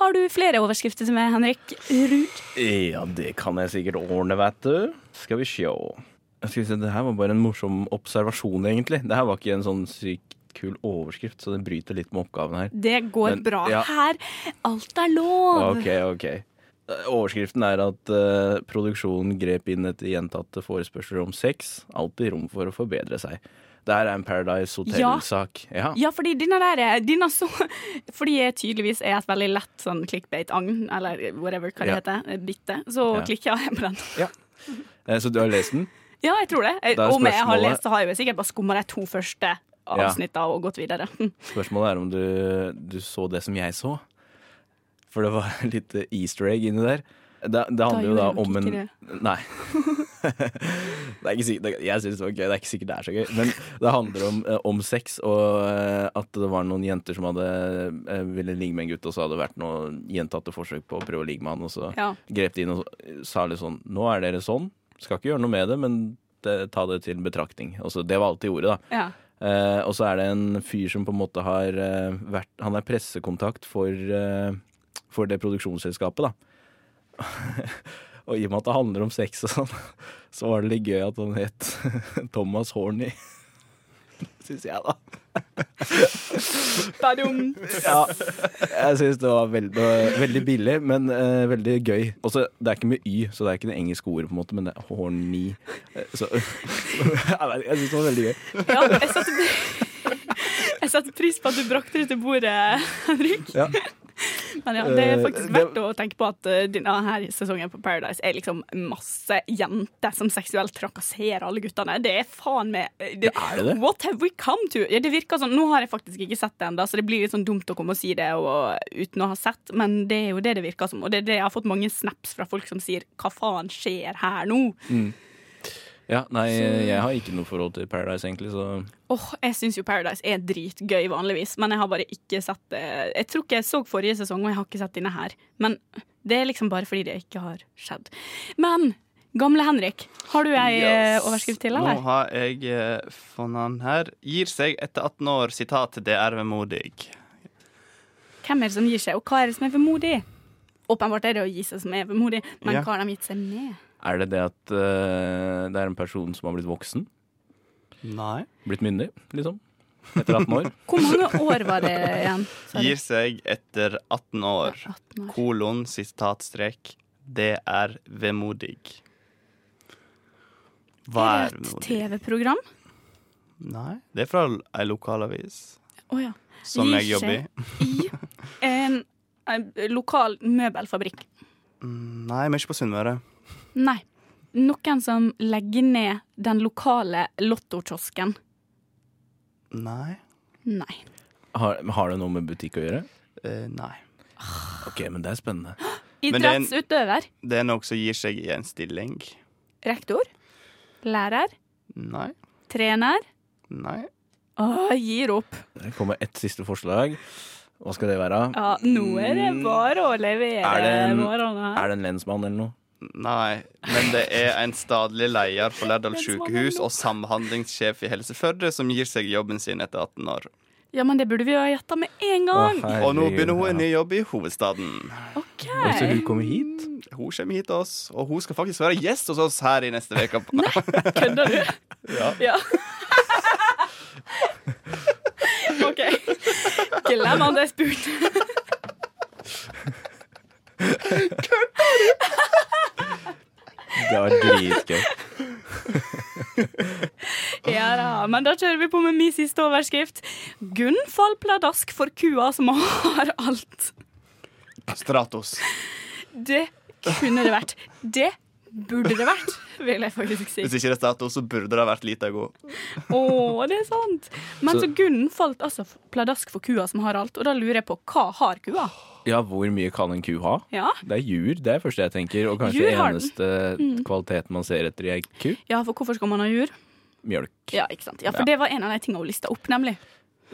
C: Har du flere overskrifter som er Henrik Ruud?
E: Ja, det kan jeg sikkert ordne, vet du. Skal vi sjå. Skal vi se, det her var bare en morsom observasjon, egentlig. Det her var ikke en sånn sykt kul overskrift, så det bryter litt med oppgaven her.
C: Det går
E: Men,
C: bra
E: ja.
C: her. Alt er lov.
E: Ok, ok. Eh, Overskriften er at eh, produksjonen grep inn etter gjentatte forespørsler om sex. Alltid rom for å forbedre seg. Det her er en Paradise Hotel-sak. Ja.
C: Ja, fordi denne der eh, denne så, Fordi jeg tydeligvis er et veldig lett sånn clickbait-agn, eller whatever hva det
E: Ja.
C: heter, bitte, så
E: Ja.
C: klikker jeg på den.
E: Eh, Så du har lest den?
C: Ja, jeg tror det. Eh,
E: Da er
C: Om jeg har
E: spørsmålet-
C: lest, så har jeg jo sikkert bare skumma de to første avsnitta og gått videre.
E: Spørsmålet er om du, du så det som jeg så. For det var [LAUGHS] et lite easter egg inni der. Det, det handler jo
C: gjorde
E: da
C: jeg nok
E: om en
C: ikke
E: Nei. [LAUGHS] det er ikke sikkert, det- jeg syns det var gøy. Det er ikke sikkert det er så gøy. Men det handler om, eh, om sex, og eh, at det var noen jenter som hadde eh, ville ligge med en gutt, og så hadde det vært noen gjentatte forsøk på å prøve å ligge med han, og så
C: Ja.
E: grep de inn og så- sa litt sånn Nå er dere sånn. Skal ikke gjøre noe med det, men det, ta det til betraktning. Og så, det var alt de gjorde, da.
C: Ja.
E: Eh, og så er det en fyr som på en måte har eh, vært Han er pressekontakt for, eh, for det produksjonsselskapet, da. [LAUGHS] og i og med at det handler om sex og sånn, [LAUGHS] så var det litt gøy at han het [LAUGHS] Thomas Horny. Syns jeg, da.
C: Badum.
E: Ja, [LAUGHS] jeg syns det var veldig, veldig billig, men eh, veldig gøy. Og så, Det er ikke med y, så det er ikke det engelske ordet, på en måte, men det er horny. Eh, Så, [LAUGHS] jeg syns det var veldig gøy.
C: Ja, jeg satte, [LAUGHS] jeg satte pris på at du brakte det til bordet, Henrik.
E: Ja.
C: Men ja, det er faktisk
E: Eh, det-
C: verdt å tenke på at eh, denne her sesongen på Paradise er liksom masse jenter som seksuelt trakasserer alle guttene. Det er faen meg eh, det,
E: Ja, er det det?
C: What have we come to? Ja, det virker sånn, Nå har jeg faktisk ikke sett det ennå, så det blir litt sånn dumt å komme og si det og, uten å ha sett, men det er jo det det virker som. Og det er det jeg har fått mange snaps fra folk som sier 'hva faen skjer her nå'?
E: Ja, nei, jeg har ikke noe forhold til Paradise, egentlig, så
C: Åh, Jeg syns jo Paradise er dritgøy vanligvis, men jeg har bare ikke sett det. Jeg tror ikke jeg så forrige sesong, og jeg har ikke sett denne her. Men det er liksom bare fordi det ikke har skjedd. Men gamle Henrik, har du ei eh, overskrift til,
D: Nå
C: eller?
D: har jeg eh, funnet han her. Gir seg etter 18 år, sitat, det er vemodig.
C: Hvem er det som gir seg, og hva er det som er vemodig? Åpenbart er det å gi seg som er vemodig, men
D: Ja.
C: hva har de gitt seg med?
E: Er det det at eh, det er en person som har blitt voksen?
D: Nei.
E: Blitt myndig, liksom? Etter 18 år?
C: Hvor mange år var det igjen? Sorry.
D: [LAUGHS] Gir seg etter 18 år.
C: 18 år.
D: Kolon, sitatstrek, det er vemodig. Hva
C: Er
D: er
C: det et
D: vemodig?
C: TV-program?
D: Nei, det er fra ei lokalavis
C: Å ja.
D: som jeg jobber i.
C: i. eh, En, en lokal møbelfabrikk.
D: Mm, Nei, vi er ikke på Sunnmøre.
C: Nei. Noen som legger ned den lokale lottokiosken.
D: Nei.
C: Nei.
E: [LAUGHS] Har, har det noe med butikk å gjøre?
D: Eh, nei.
E: Ok, men det er spennende.
D: Men det er en-
C: Idrettsutøver.
D: Det er noe som gir seg i en stilling.
C: Rektor. Lærer.
D: Nei.
C: Trener.
D: Nei.
C: Å, gir opp.
E: Det kommer ett siste forslag. Hva skal det være?
C: Ja, nå er det bare å levere
E: Er det en-
C: morgenen her.
E: Er det en lensmann eller noe?
D: Nei, men det er en stadlig leder på
C: [LAUGHS]
D: Lærdal sykehus og samhandlingssjef i Helse Førde som gir seg jobben sin etter 18 år.
C: Ja, men det burde vi jo ha gjetta med en gang.
D: Og nå begynner hun en ny jobb i hovedstaden.
C: OK.
E: Så hun kommer hit?
D: Hun kommer hit til oss, og hun skal faktisk være gjest hos oss her i neste uke.
C: [LAUGHS] Kødder du?
E: [LAUGHS]
D: Ja.
C: OK. Glem at jeg spurte.
E: Det var dritgøy.
C: Ja da, men da kjører vi på med min siste overskrift. Gunn fall pladask for kua som har alt.
D: [LAUGHS] Stratos.
C: Det kunne det vært. Det burde det vært, vil jeg faktisk si.
D: Hvis ikke det er Stratos, så burde det ha vært lite god.
C: Å, det er sant. Men
E: Så-
C: så Gunn falt altså pladask for kua som har alt, og da lurer jeg på hva har kua?
E: Ja, hvor mye kan en ku ha?
C: Ja,
E: Det er jur, det er det første jeg tenker. Og kanskje
C: Jur
E: den
C: har den.
E: eneste kvaliteten man ser etter i ei ku
C: ja for hvorfor skal man ha jur?
E: mjølk.
C: Ja, ikke sant. Ja,
E: Ja.
C: For det var en av de tingene hun lista opp, nemlig.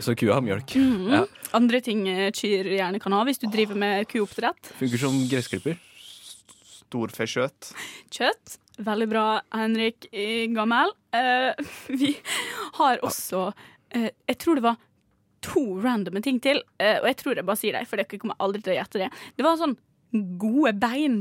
E: Så kua har mjølk. Ja,
C: Andre ting eh, kyr gjerne kan ha hvis du driver med kuoppdrett.
E: funker som gressklipper.
D: Storfekjøtt.
C: Kjøtt. Veldig bra, Henrik eh, Gammel. Eh, [LAUGHS] vi har også eh, Jeg tror det var to randome ting til, eh, og jeg tror jeg bare sier dem, for dere kommer aldri til å gjette det. Det var sånn gode bein.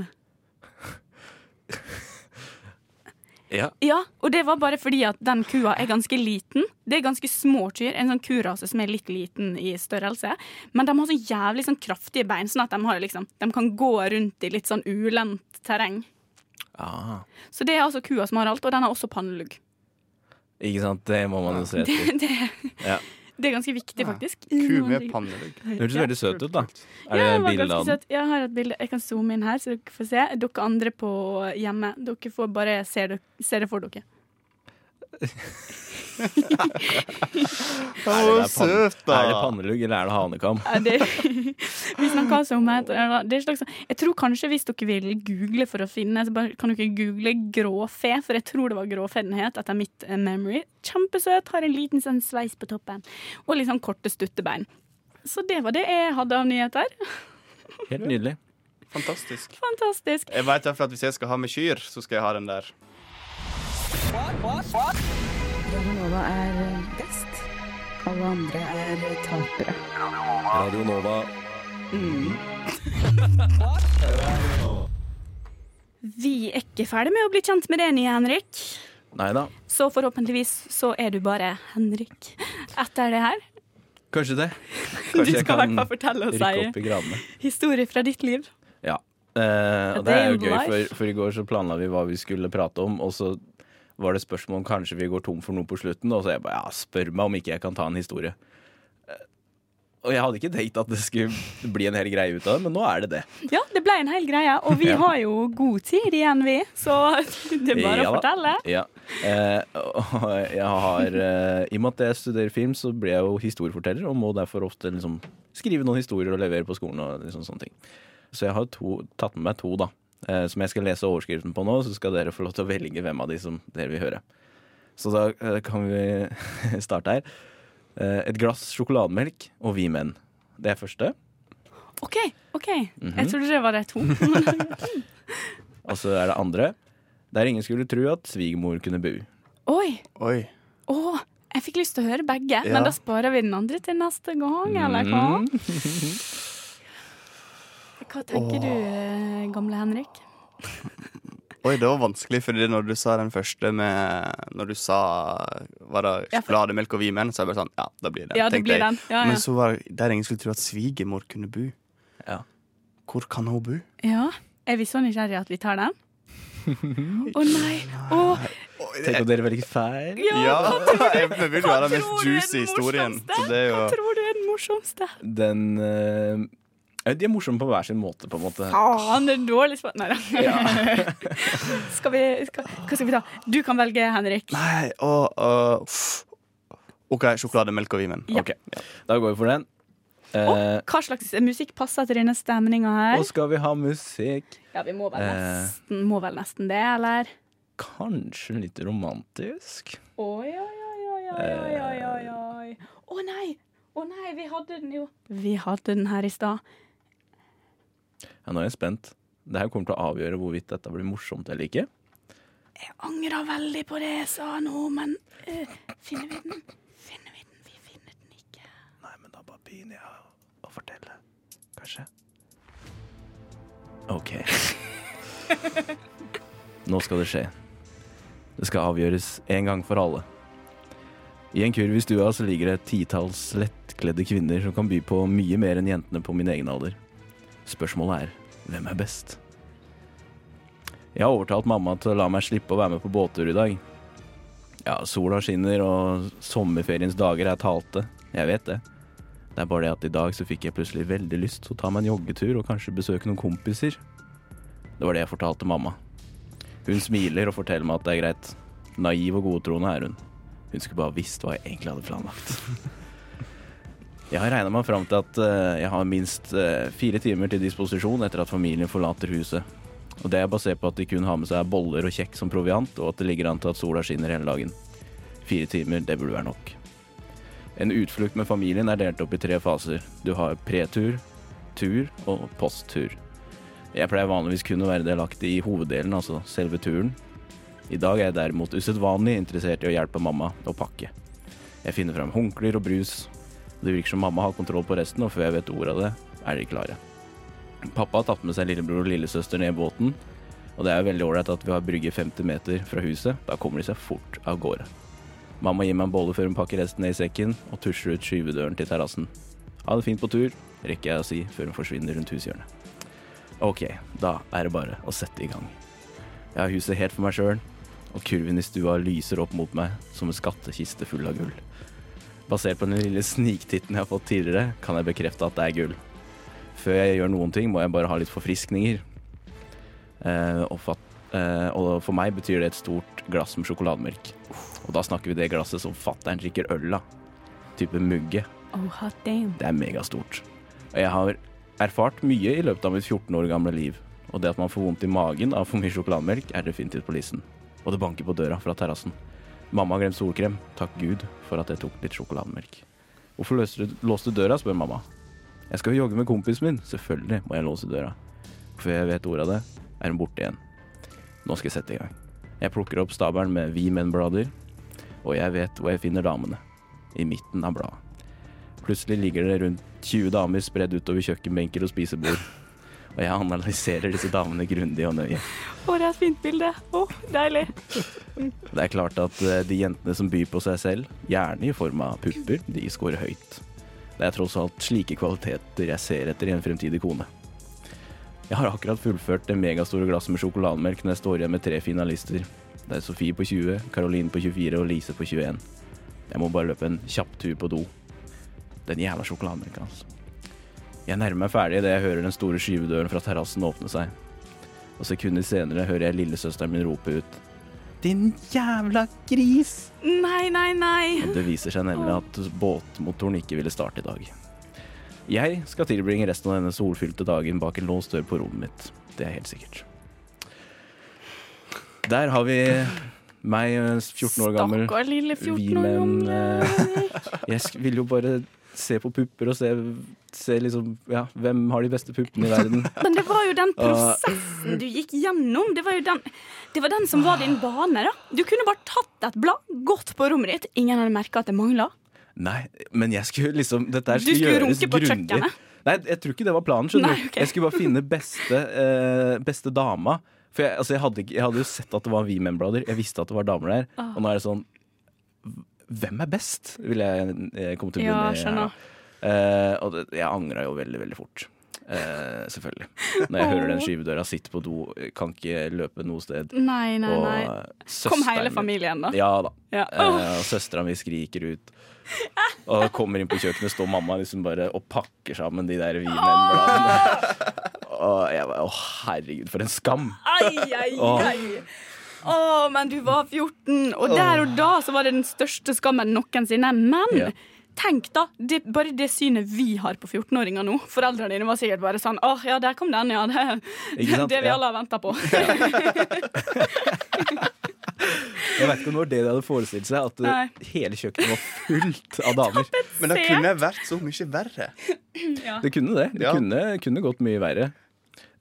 E: Ja.
C: Ja, og det var bare fordi at den kua er ganske liten. Det er ganske små kyr. En sånn kurase som er litt liten i størrelse. Men de har så jævlig sånn kraftige bein, sånn at de, har liksom, de kan gå rundt i litt sånn ulendt terreng.
E: Ah,
C: Så det er altså kua som har alt, og den har også pannelugg.
E: ikke sant, det må man jo se
C: Det,
E: etter.
C: det,
E: Ja.
C: det er ganske viktig, faktisk.
D: Ku med pannelugg.
E: Det hørtes veldig søt ut, da. Er
C: Ja,
E: det
C: den
E: en
C: var
E: bilde
C: ganske
E: av den?
C: søt. Jeg har et bilde. Jeg kan zoome inn her, så dere får se. Dere andre på hjemme, dere får bare se det, se det for dere.
D: Å,
E: Er det pan-
D: søt, da!
E: Er det pannelugg eller er det hanekam?
C: Ja, Det, [LAUGHS] vi snakker altså om et, det er et slags, Jeg tror kanskje hvis dere vil google for å finne, så bare, kan dere google gråfe, for jeg tror det var gråfe den het, etter mitt eh, memory. Kjempesøt, har en liten sånn sveis på toppen, og litt sånn korte stuttebein. Så det var det jeg hadde av nyheter.
E: Helt nydelig.
D: Fantastisk.
C: Fantastisk.
D: Jeg vet derfor at hvis jeg skal ha med kyr, så skal jeg ha den der.
I: Radio Nova.
C: Vi er ikke ferdig med å bli kjent med deg nye, Henrik.
E: Nei da.
C: Så forhåpentligvis så er du bare Henrik etter det her.
E: Kanskje det.
C: Du
E: Kanskje jeg
C: skal i
E: kan
C: hvert fall fortelle og
E: rykke opp
C: si
E: i gradene.
C: historier fra ditt liv.
E: Ja. Eh, og
C: A
E: det er
C: day
E: jo
C: in the
E: gøy,
C: life.
E: for, for i går så planla vi hva vi skulle prate om, og så var det spørsmål om kanskje vi går tom for noe på slutten, og så jeg bare ja, spør meg om ikke jeg kan ta en historie. Eh, Og jeg hadde ikke tenkt at det skulle bli en hel greie ut av det, men nå er det det.
C: Ja, det ble en hel greie, og vi
E: Ja.
C: har jo god tid igjen, vi. Så [LAUGHS] det er bare
E: Ja
C: å
E: da.
C: fortelle.
E: Ja. Eh, og jeg har eh, I og med at jeg studerer film, så blir jeg jo historieforteller, og må derfor ofte liksom skrive noen historier og levere på skolen og liksom sånne ting. Så jeg har to, tatt med meg to, da. Eh, som jeg skal lese overskriften på nå, så skal dere få lov til å velge hvem av de som dere vil høre. Så da eh, kan vi [LAUGHS] starte her. Eh, et glass sjokolademelk og vi menn. Det er første.
C: OK, OK.
E: Mhm.
C: Jeg trodde det var de to. [LAUGHS] Å,
E: Og så er det andre. Der ingen skulle tro at svigermor kunne bu.
C: Oi.
D: Oi.
C: Å, jeg fikk lyst til å høre begge, men da sparer vi den andre til neste gang,
E: Mm.
C: eller
E: Mhm.
C: hva? Hva tenker du, eh, gamle Henrik?
D: Oi, det var vanskelig, fordi når du sa den første med Når du sa Var det
C: Ja, for-
D: sjokolademelk og vimen, så er jeg bare sånn Ja, da blir det.
C: Ja, det
D: tenkte
C: blir
D: jeg.
C: den. Ja, ja.
D: Men så var det der ingen skulle tro at svigermor kunne bo.
E: Ja.
D: Hvor kan hun bo?
C: ja. Er vi så nysgjerrige at vi tar den? Å nei. Å,
E: Tenk om dere velger feil.
D: Ja, [LAUGHS] jeg vil jo ha
C: hva
D: den mest
C: tror du er
D: juicy
C: den
D: historien.
C: morsomste?
D: Så det er jo
C: hva tror du er den morsomste?
E: den eh, ja, De er morsomme på hver sin måte, på en måte.
C: Faen, det er dårlig svar. Nei da. [LAUGHS] skal vi, skal, hva skal vi ta? Du kan velge, Henrik.
D: Nei, og og- uff. OK, sjokolademelk og vimen.
C: Ja.
E: Ok, Da går vi for den. Eh,
C: Hva slags musikk passer til denne stemninga
E: og
C: her?
E: skal vi ha musikk?
C: Ja, vi må vel
E: eh.
C: nesten, må vel nesten det, eller?
E: Kanskje litt romantisk?
C: Oi, oi, oi, oi, oi, oi, oi, oi, oi. Å nei! Å nei, vi hadde den jo. Vi hadde den her i stad.
E: Ja, nå er jeg spent. Det her kommer til å avgjøre hvorvidt dette blir morsomt eller ikke.
C: Jeg angrer veldig på det jeg sa nå, men eh, finner vi den? Finner vi den? Vi finner den ikke.
E: Nei, men da bare begynner jeg å fortelle. Kanskje. OK. [LAUGHS] Nå skal det skje. Det skal avgjøres en gang for alle. I en kurv i stua så ligger det et titalls lettkledde kvinner som kan by på mye mer enn jentene på min egen alder. Spørsmålet er hvem er best? Jeg har overtalt mamma til å la meg slippe å være med på båttur i dag. Ja, sola skinner, og sommerferiens dager er talte. Jeg vet det. Det er bare det at i dag så fikk jeg plutselig veldig lyst til å ta meg en joggetur og kanskje besøke noen kompiser. Det var det jeg fortalte mamma. Hun smiler og forteller meg at det er greit. Naiv og godtroende er hun. Hun skulle bare visst hva jeg egentlig hadde planlagt. Jeg har regna meg fram til at eh, jeg har minst eh, fire timer til disposisjon etter at familien forlater huset. Og det er basert på at de kun har med seg boller og kjekk som proviant, og at det ligger an til at sola skinner hele dagen. Fire timer, det burde være nok. En utflukt med familien er delt opp i tre faser. Du har pretur, tur og posttur. Jeg pleier vanligvis kun å være delaktig i hoveddelen, altså selve turen. I dag er jeg derimot usedvanlig interessert i å hjelpe mamma å pakke. Jeg finner fram håndklær og brus. Det virker som mamma har kontroll på resten, og før jeg vet ordet av det, er de klare. Pappa har tatt med seg lillebror og lillesøster ned i båten, og det er veldig ålreit at vi har brygge 50 meter fra huset. Da kommer de seg fort av gårde. Mamma gir meg en bolle før hun pakker resten ned i sekken og tusjer ut skyvedøren til terrassen. Ha det fint på tur, rekker jeg å si før hun forsvinner rundt hushjørnet. Ok, da er det bare å sette i gang. Jeg har huset helt for meg sjøl, og kurven i stua lyser opp mot meg som en skattkiste full av gull. Basert på den lille sniktitten jeg har fått tidligere, kan jeg bekrefte at det er gull. Før jeg gjør noen ting, må jeg bare ha litt forfriskninger. Eh, og, fat, eh, og for meg betyr det et stort glass med sjokolademelk. Og da snakker vi det glasset som fatter'n drikker øl av. Type mugge.
C: Oh, hot damn.
E: Det er megastort. Og jeg har erfart mye i løpet av mitt 14 år gamle liv. Og det at man får vondt i magen av for mye sjokolademelk, er definitivt på listen. Og det banker på døra fra terrassen. Mamma har glemt solkrem. Takk Gud for at jeg tok litt sjokolademelk. Hvorfor løste du, låste du døra, spør mamma. Jeg skal jo jogge med kompisen min. Selvfølgelig må jeg låse døra. Før jeg vet ordet av det, er hun borte igjen. Nå skal jeg sette i gang. Jeg plukker opp stabelen med Vi menn-blader, og jeg vet hvor jeg finner damene. I midten av bladet. Plutselig ligger det rundt 20 damer spredd utover kjøkkenbenker og spisebord. Og jeg analyserer disse damene grundig og nøye.
C: Å, det er et fint bilde. Å, deilig.
E: Det er klart at eh, de jentene som byr på seg selv, gjerne i form av pupper, de scorer høyt. Det er tross alt slike kvaliteter jeg ser etter i en fremtidig kone. Jeg har akkurat fullført det megastore glasset med sjokolademelk når jeg står igjen med tre finalister. Det er Sofie på 20, Caroline på 24 og Lise på 21. Jeg må bare løpe en kjapp tur på do. Den jævla sjokolademelka, altså. Jeg nærmer meg ferdig idet jeg hører den store skyvedøren fra terrassen åpne seg. Og sekunder senere hører jeg lillesøsteren min rope ut Din jævla gris!
C: Nei, nei, nei.
E: Og det viser seg nemlig at båtmotoren ikke ville starte i dag. Jeg skal tilbringe resten av denne solfylte dagen bak en låst dør på rommet mitt. Det er helt sikkert. Der har vi meg, 14 år gammel.
C: Stakkar lille
E: Vi
C: 14 år
E: menn
C: gamle.
E: eh, Jeg sk- ville jo bare se på pupper og se, se liksom Ja, hvem har de beste puppene i verden?
C: Men det var jo
E: [LAUGHS]
C: den prosessen du gikk gjennom. Det var jo den, det var den som var din bane. da Du kunne bare tatt et blad, gått på rommet ditt, ingen hadde merka at det mangla.
E: Nei, men jeg skulle liksom Dette her
C: Du
E: skulle,
C: skulle
E: gjøres
C: runke på
E: grundig.
C: kjøkkenet?
E: Nei, jeg tror ikke det var planen. skjønner
C: Nei,
E: du.
C: ok.
E: Jeg skulle bare finne beste, eh, beste dama. For jeg, altså, jeg, hadde, ikke- jeg hadde jo sett at det var vi memblader. Jeg visste at det var damer der.
C: Ah.
E: Og nå er det sånn Hvem er best? Vil jeg eh, komme til
C: Ja,
E: bunn i her
C: skjønner.
E: nå. Eh, og det, jeg angra jo veldig, veldig fort. Eh, selvfølgelig. Når jeg hører den skyvedøra, sitter på do, kan ikke løpe noe sted.
C: Nei, nei,
E: og
C: nei.
E: søsteren
C: Kom hele
E: min-
C: familien, da.
E: ja da.
C: Ja.
E: Eh, og søstera mi skriker ut. Og kommer inn på kjøkkenet, står mamma liksom bare og pakker sammen de der vinenbladene. Og jeg bare Å, herregud, for en skam.
C: Ai, ai, ai. Å, men du var 14, og der og da så var det den største skammen noensinne. Men
E: Ja.
C: tenk da, det, bare det synet vi har på 14-åringer nå. Foreldrene dine var sikkert bare sånn Å, ja, der kom den, ja. Det,
E: Ikke sant?
C: det vi
E: Ja.
C: alle har venta på.
E: Jeg vet ikke når det de hadde forestilt seg, at
C: Nei.
E: eh, hele kjøkkenet var fullt av damer.
D: Men det kunne vært så mye verre.
E: Det kunne det. Det
D: Ja.
E: kunne, kunne gått mye verre.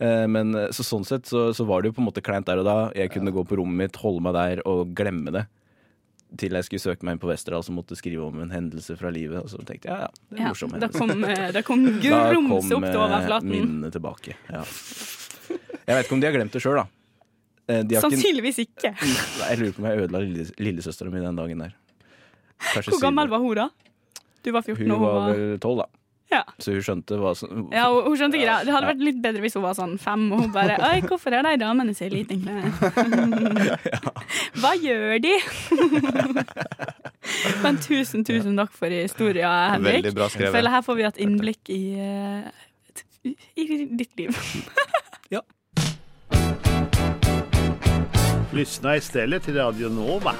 E: Eh, Men eh, så sånn sett så, så var det jo på en måte kleint der og da. Jeg kunne gå på rommet mitt, holde meg der og glemme det. Til jeg skulle søke meg inn på Westerdal, så måtte jeg skrive om en hendelse fra livet. Og så tenkte jeg ja, ja, det er
C: Ja,
E: en morsom
C: da
E: hendelse.
C: kom, eh, da kom grumse opp til
E: eh,
C: overflaten.
E: minnene tilbake. Ja. Jeg vet ikke om de har glemt det sjøl, da. Eh, De har ikke,
C: Sannsynligvis ikke.
E: Nei, jeg lurer på om jeg ødela lille- lillesøstera mi den dagen der. Kanskje
C: Hvor gammel
E: Siv-
C: var hun da? Du var 14
E: hun?
C: og hun var
E: vel tolv, da.
C: Ja.
E: Så hun skjønte hva som
C: Ja, hun, hun skjønte greia. Det hadde vært litt bedre hvis hun var sånn fem, og hun bare Oi, hvorfor er de damene så lite klær? Hva gjør de? [LAUGHS] Men tusen, tusen takk for historia, Henrik.
D: Veldig bra skrevet.
C: Føler her får vi et innblikk i eh, i ditt liv.
K: Lyssna istället till Radio Nova.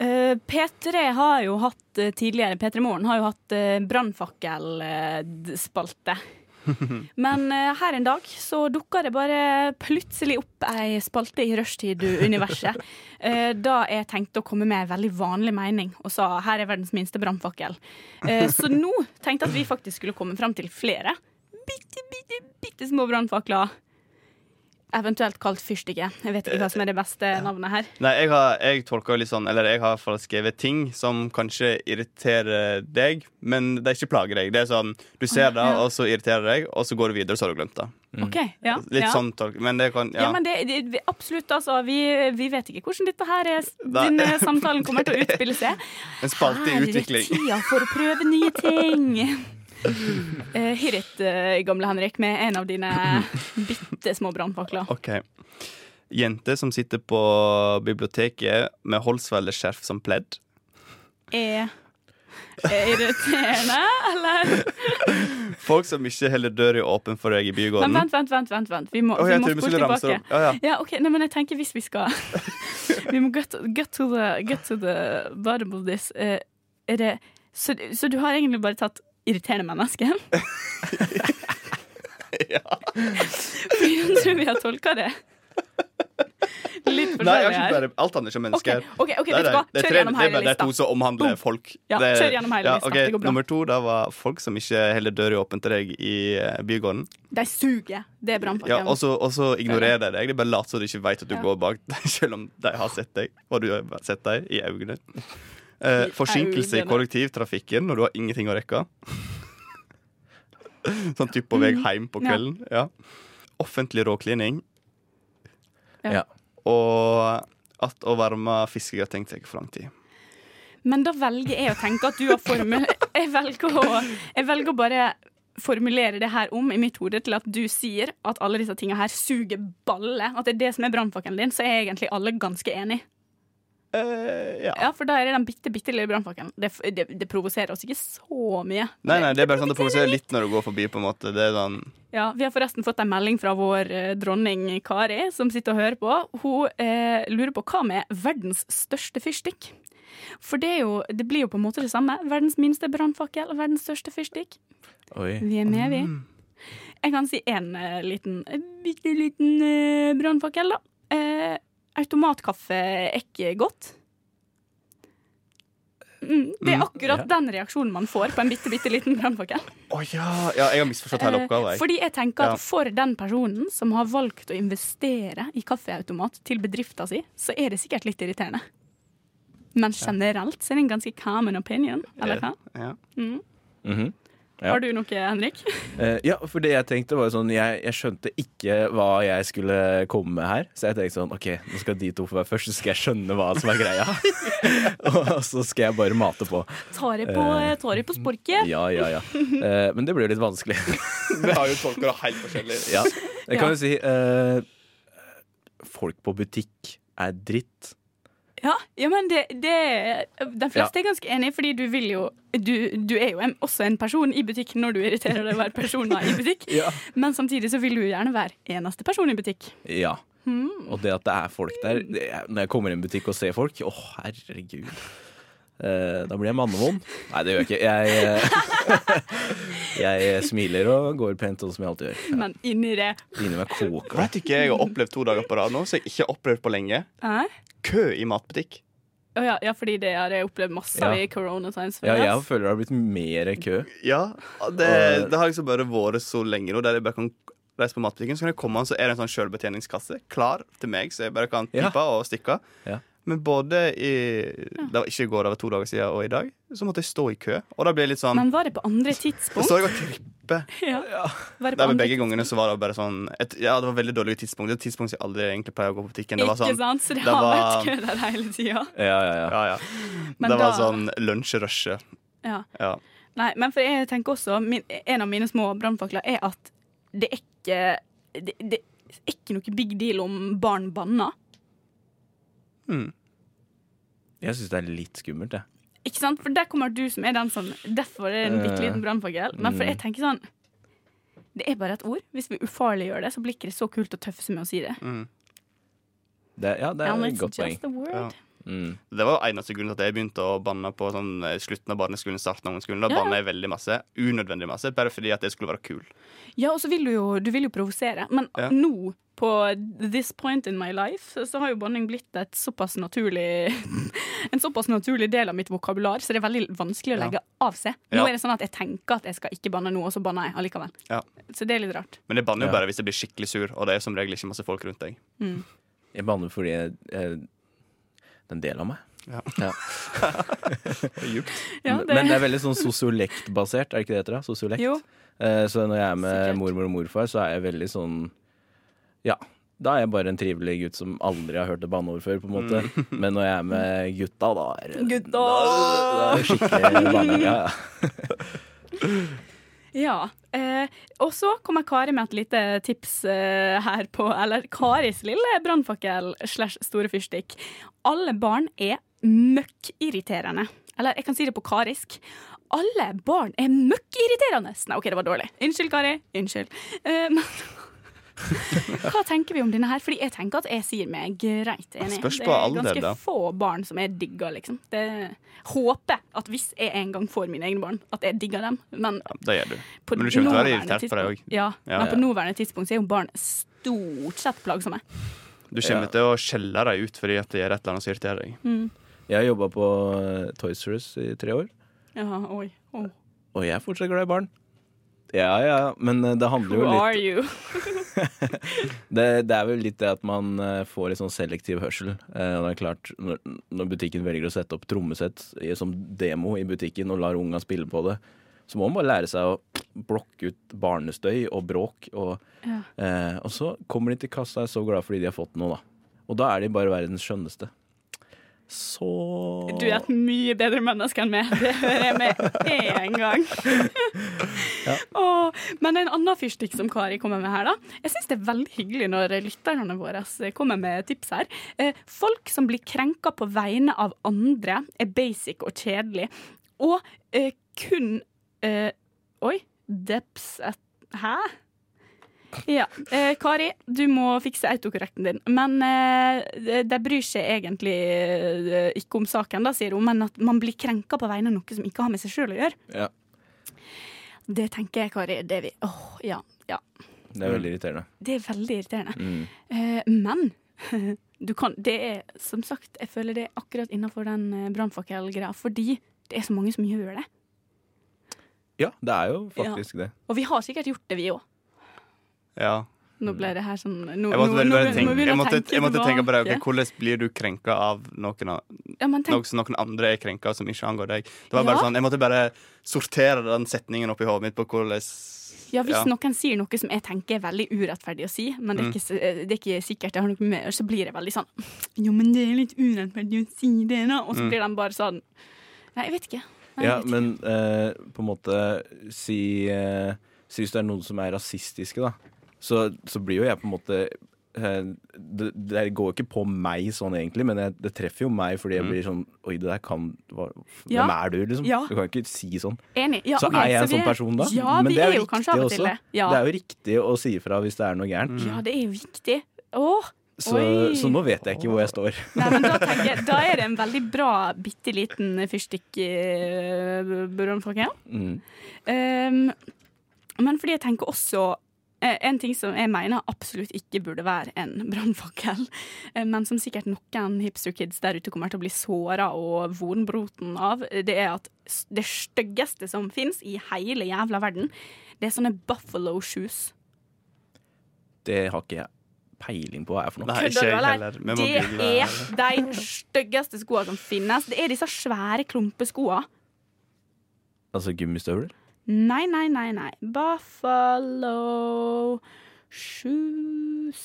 C: Eh, P3 har jo hatt eh, tidligere, P3 Morgen har jo hatt uh, brannfakkelspalte. Men eh, her en dag så dukka det bare plutselig opp ei spalte i rushtid-universet. [LAUGHS] eh, da jeg tenkte å komme med ei veldig vanlig mening og sa her er verdens minste brannfakkel. Eh, så nå tenkte jeg at vi faktisk skulle komme fram til flere bitte, bitte, bitte små brannfakler. Eventuelt kalt fyrstikke. Jeg vet ikke hva som er det
D: Eh,
C: beste navnet her.
D: Nei, jeg har, jeg tolker litt sånn Eller jeg har i hvert fall skrevet ting som kanskje irriterer deg, men det ikke plager deg. Det er sånn, Du ser det,
C: Ja.
D: og så irriterer det deg, og så går du videre, så har du glemt det.
C: Ok, ja,
D: Mm. Litt
C: ja.
D: sånn tolk, men det kan
C: Ja, men det, det, vi- absolutt, altså. Vi, vi vet ikke hvordan dette her er.
D: Nei.
C: Denne samtalen kommer til å utspille seg.
D: En spalte i
C: Her er
D: utvikling.
C: tida for å prøve nye ting. [LAUGHS] Uh, Hyrit, eh, gamle Henrik, med en av dine bitte små brannfakler.
D: OK. Jente som sitter på biblioteket med Holsweiler-skjerf som pledd.
C: Er er irriterende, eller?
D: Folk som ikke heller dør i åpen for deg i
C: Men
D: bygården.
C: vent, vent, vent. vent, vent. Vi må,
D: Å,
C: vi
D: jeg
C: må
D: trodde vi
C: spole
D: skulle ramse det
C: tilbake.
D: opp.
C: [LAUGHS]
D: Ja, ja.
C: Ja, ok, Nei, men jeg tenker hvis vi skal [LAUGHS] Vi må get, get, to, the, get to the bottom of this. Eh, er det, så, så du har egentlig bare tatt irriterende mennesker? ja. For [LAUGHS] jeg tror vi har tolka det litt
D: Nei, jeg har
C: forskjellig
D: ikke
C: her.
D: bare alt handler ikke om
C: OK,
D: mennesker.
C: ok, ok,
D: Nei,
C: vet du hva?
D: nei, det er
C: Kjør gjennom
D: tre- det er
C: hele
D: bare- Det er
C: lista.
D: to som omhandler
C: Boom.
D: folk.
C: Ja,
D: Det er-
C: kjør gjennom hele lista.
D: ok,
C: Det går bra.
D: Nummer to da var folk som ikke heller dør i åpent til deg i eh, bygården.
C: De suger. Det er brannpakken.
D: Ja, altså- og så og så ignorerer de deg. De bare later som de ikke vet at du
C: Ja.
D: går bak [LAUGHS] deg, selv om de har sett deg, og du har sett deg i øynene. Eh,
C: I
D: forsinkelse i
C: øynene.
D: kollektivtrafikken når du har ingenting å rekke. [LAUGHS] Sånn type på vei hjem på
C: Mm. Ja.
D: kvelden. Ja. Offentlig råklining.
C: Ja.
E: Ja.
D: Og at å varme fiskegrateng tar for lang tid.
C: Men da velger jeg å tenke at du har formel... [LAUGHS] Jeg velger å, jeg velger å bare formulere det her om i mitt hode til at du sier at alle disse tinga her suger balle. At det er det som er brannfakkelen din, så er egentlig alle ganske enig.
D: Eh, ja.
C: Ja, for da er det den bitte, bitte lille brannfakkelen. Det, f- det, det provoserer oss ikke så mye.
D: Nei, nei, det er bare sånn det provoserer litt når du går forbi, på en måte. Det er sånn
C: Ja, Vi har forresten fått en melding fra vår eh, dronning Kari, som sitter og hører på. Hun eh, lurer på hva med verdens største fyrstikk? For det, er jo, det blir jo på en måte det samme. Verdens minste brannfakkel og verdens største fyrstikk.
E: Oi.
C: Vi er med, vi. Jeg kan si en eh, liten, bitte liten uh, brannfakkel, da. Eh, automatkaffe er ikke godt. Mm, det er
D: Mm,
C: akkurat den reaksjonen man får på en bitte, bitte liten brannfakkel.
D: Å ja! ja! Jeg har misforstått hele
C: Eh,
D: oppgaven. Jeg.
C: Fordi jeg tenker at
D: Ja.
C: for den personen som har valgt å investere i kaffeautomat til bedrifta si, så er det sikkert litt irriterende. Men generelt så er det en ganske common opinion, eller hva?
D: Ja.
E: Mhm. Ja.
C: Har du noe, Henrik?
E: Eh, ja, for det jeg tenkte var jo sånn jeg, jeg skjønte ikke hva jeg skulle komme med her. Så jeg tenkte sånn OK, nå skal de to få være først, så skal jeg skjønne hva som er
C: [LAUGHS]
E: greia. [LAUGHS] og så skal jeg bare mate på.
C: [LAUGHS] Tar jeg på,
E: Eh,
C: tar jeg på sporket?
E: Ja, ja, ja. Eh, men det blir jo litt vanskelig.
D: Vi har jo tolka det helt forskjellig.
E: ja. Jeg kan jo si eh, Folk på butikk er dritt.
C: Ja, ja men det, det De fleste er ganske enige, fordi du vil jo Du, du er jo en, også en person i butikk når du irriterer deg over personer i butikk.
E: [LAUGHS] Ja.
C: Men samtidig så vil du jo gjerne være eneste person i butikk.
E: Ja. Og det at det er folk der det er, Når jeg kommer i en butikk og ser folk Å, herregud. Eh, da blir jeg mannevond. Nei, det gjør jeg ikke. Jeg, eh, [LAUGHS] jeg smiler og går pent, sånn som jeg alltid gjør. Ja,
C: Men inni det
E: Inni meg koker.
D: Vet du ikke jeg har opplevd to dager på rad nå, som jeg ikke har opplevd på lenge?
C: Hæ?
D: Kø i matbutikk.
C: Å ja, ja, fordi det har jeg opplevd masse av
E: Ja.
C: i corona times.
E: Ja,
C: føler jeg,
E: jeg
C: ass.
E: føler det har blitt mer kø.
D: Ja, og det, det har liksom bare vært så lenge nå. Der jeg bare kan reise på matbutikken, så kan jeg komme, og så er det en sånn sjølbetjeningskasse klar til meg, så jeg bare kan
E: Ja.
D: pipe og stikke av. Men både i Det var ikke i går, det var to dager siden, og i dag, så måtte jeg stå i kø. Og da ble jeg litt sånn
C: Men var det på andre
D: Så
C: tidspunkt?
D: står jeg og tripper.
C: [LAUGHS] Ja. Var det
D: Nei,
C: på
D: men
C: andre
D: begge gangene så var det bare sånn et, Ja, det var veldig dårlig tidspunkt. Det er et tidspunkt jeg aldri egentlig pleier å gå på butikken. Det var sånn,
C: Ikke sant? Så det,
D: det
C: har
D: var-
C: vært kø der hele tida.
D: Ja, ja, ja.
C: Men
D: det var
C: da-
D: sånn lunsjrushet.
C: Ja.
D: Ja.
C: Nei, men for jeg tenker også min, En av mine små brannfakler er at det er ikke det, det er ikke noe big deal om barn banner.
D: Mm,
E: Jeg syns det er litt skummelt, jeg.
C: Ikke sant? For der kommer du som er den som Derfor er det en bitte liten brannfakkel. Men for jeg tenker sånn Det er bare et ord. Hvis vi ufarliggjør det, så blir ikke det så kult og tøffe som med å si det.
E: Det, ja, det
C: And
E: er
C: it's
E: et godt poeng. Mm.
C: just a word.
D: Ja. Det var jo eneste grunnen til at jeg begynte å banne på sånn, eh, slutten av barneskolen. starten av ungdomsskolen. Da
C: Ja, ja.
D: banna jeg veldig masse. Unødvendig masse. Bare fordi at jeg skulle være kul.
C: Ja, og så vil du jo, du vil jo provosere. Men
D: Ja.
C: nå, på this point in my life, så har jo banning blitt et såpass naturlig [LAUGHS] en såpass naturlig del av mitt vokabular, så det er veldig vanskelig å
D: Ja.
C: legge av seg. Nå
D: Ja.
C: er det sånn at jeg tenker at jeg skal ikke banne nå, og så banner jeg allikevel.
D: Ja.
C: Så det er litt rart.
D: Men jeg banner jo
E: Ja.
D: bare hvis jeg blir skikkelig sur, og det er som regel ikke masse folk rundt deg.
C: Mm.
E: Jeg banner fordi jeg, jeg, det er en del av meg.
D: Ja.
E: Djupt.
C: Ja, det-
E: Men det er veldig sånn sosiolekt-basert, er det ikke det det heter? da? Sosiolekt.
C: Jo.
E: Eh, Så når jeg er med mormor og morfar, så er jeg veldig sånn Ja. Da er jeg bare en trivelig gutt som aldri har hørt et banneord før, på en måte. Men når jeg er med gutta, da er det
C: Gutta!
E: da er det skikkelig banning. Ja, ja.
C: Ja. Eh, og så kommer Kari med et lite tips eh, her på Eller Karis lille brannfakkel slash store fyrstikk. Alle barn er møkkirriterende. Eller jeg kan si det på karisk. Alle barn er møkkirriterende! Nei, OK, det var dårlig. Unnskyld, Kari. Unnskyld. Eh, men [LAUGHS] hva tenker vi om denne her? Fordi jeg tenker at jeg sier meg greit enig.
D: Spørs
C: Det
D: på
C: er
D: alder,
C: ganske
D: da.
C: få barn som jeg digger, liksom. Det håper at hvis jeg en gang får mine egne barn, at jeg digger dem. Men
D: Det gjør du.
C: på
D: Men du kommer til å være
C: nåværende
D: irritert på det òg.
C: tidspunkt- Ja,
D: Ja,
C: men
D: ja.
C: på nåværende tidspunkt så er jo barn stort sett plagsomme.
D: Du kommer til å skjelle deg ut fordi at det gjør et eller annet som irriterer deg.
C: Mm.
E: Jeg har jobba på eh, Toys R Us i tre år,
C: Ja, oi. Oh.
E: og jeg er fortsatt glad i barn. Ja, ja, men eh, det handler
C: Who
E: jo litt
C: are you?
E: Det, det er vel litt det at man eh, får litt sånn selektiv hørsel. Eh, og det er klart, når, når butikken velger å sette opp trommesett i- som demo i butikken og lar unga spille på det, så må man bare lære seg å blokke ut barnestøy og bråk. Og,
C: Ja.
E: eh, og så kommer de til kassa og er så glad fordi de har fått noe, da. Og da er de bare verdens skjønneste. Så
C: Du er et mye bedre menneske enn meg. Det hører jeg med en
E: [LAUGHS]
C: gang. Åh, men en annen fyrstikk som Kari kommer med her, da. Jeg syns det er veldig hyggelig når lytterne våre eh, kommer med tips her. Eh, Folk som blir krenka på vegne av andre, er basic og kjedelig. Og eh, kun eh, Oi. Deps et, Hæ? Ja. Eh, Kari, du må fikse autokorrekten din. Men eh, de bryr seg egentlig eh, ikke om saken, da, sier hun, men at man blir krenka på vegne av noe som ikke har med seg sjøl å gjøre.
E: Ja,
C: Det tenker jeg, Kari. Det, er vi. Åh, ja, ja.
E: det er veldig irriterende.
C: det er veldig irriterende.
E: Mm.
C: Eh, men [LAUGHS] du kan Det er som sagt, jeg føler det er akkurat innafor den eh, brannfakkelgreia, fordi det er så mange som gjør det.
E: Ja, det er jo faktisk det.
C: Og vi har sikkert gjort det, vi òg.
D: Ja.
C: Nå ble det her sånn nå,
D: Mm. Jeg måtte, bare-
C: nå- nå-
D: bare
C: nå
D: tenke,
C: begynner
D: jeg måtte, jeg måtte tenke på det.
C: tilbake.
D: ok, hvordan blir du krenka av noen, av,
C: Ja, men tenk-
D: noe som noen andre er krenka, som ikke angår deg? Det var
C: Ja.
D: bare sånn, Jeg måtte bare sortere den setningen opp i hodet mitt på hvordan
C: Ja, hvis
D: ja.
C: noen sier noe som jeg tenker er veldig urettferdig å si, men det er
D: Mm.
C: ikke, s- eh, det er ikke sikkert jeg har noe med å gjøre, så blir jeg veldig sånn Jo, men det er litt urettferdig å si det, da. Og så
E: Mm.
C: blir de bare sånn Nei, jeg vet ikke. Nei, jeg
E: Ja,
C: vet ikke.
E: men eh, på en måte si, eh, si hvis det er noen som er rasistiske, da, så, så blir jo jeg på en måte eh, det, det går ikke på meg sånn egentlig, men jeg, det treffer jo meg fordi jeg blir sånn Oi, det der kan hva,
C: Ja.
E: Hvem er du, liksom?
C: Ja.
E: Du kan ikke si sånn.
C: Enig. Ja,
E: så
C: ok,
E: er jeg
C: så
E: en
C: vi
E: sånn person da?
C: Ja,
E: men
C: vi
E: det er,
C: er jo
E: riktig
C: kanskje av og til
E: også.
C: det. Ja.
E: Det er Mm. jo riktig å si ifra hvis det er noe gærent.
C: ja, det er jo viktig. Åh,
E: Så,
C: oi.
E: så nå vet jeg ikke hvor jeg
C: [LAUGHS]
E: står.
C: Nei, men da, tenker jeg, da er det en veldig bra bitte liten eh, fyrstikk-brannfakkel.
E: Mm.
C: Ehm, Um, men fordi jeg tenker også Eh, En ting som jeg mener absolutt ikke burde være en [LAUGHS] brannfakkel, eh, men som sikkert noen hipsterkids der ute kommer til å bli såra og vonbroten av, eh, det er at s- det styggeste som fins i hele jævla verden, det er sånne buffalo shoes.
E: Det har ikke jeg peiling på hva er for noe.
D: Nei, ikke jeg heller. Vi må
C: Det
D: google
C: er de styggeste skoene som finnes. Det er disse svære klumpeskoene.
E: Altså gummistøvler?
C: Nei, nei, nei, nei. Buffalo shoes.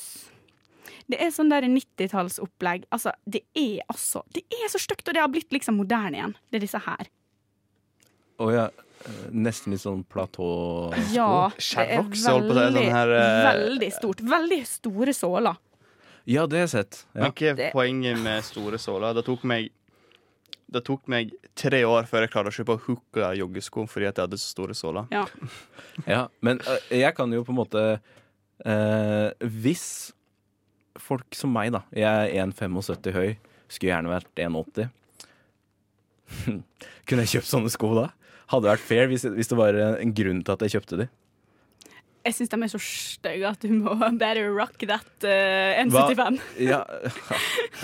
C: Det er sånn der 90-tallsopplegg. Altså, det er altså Det er så stygt, og det har blitt liksom moderne igjen. Det er disse her.
E: Å ja. eh, Nesten litt sånn platå
C: Ja. Det er
D: Sherrox, holdt på å si,
C: veldig,
D: sånn her, eh,
C: veldig stort. Veldig store såler.
E: Ja, det har jeg sett. Ja.
D: Men hva er
C: Det-
D: poenget med store såler? Det tok meg det tok meg tre år før jeg klarte å kjøpe hooka joggesko fordi at jeg hadde så store såler.
C: Ja.
E: ja men eh, jeg kan jo på en måte eh, Hvis folk som meg, da Jeg er 1,75 høy, skulle gjerne vært 1,80. [LAUGHS] Kunne jeg kjøpt sånne sko da? Hadde vært fair hvis, hvis det var en grunn til at jeg kjøpte de.
C: Jeg syns de er så stygge at du må better rock that eh, 175.
E: Hva- [LAUGHS] Ja,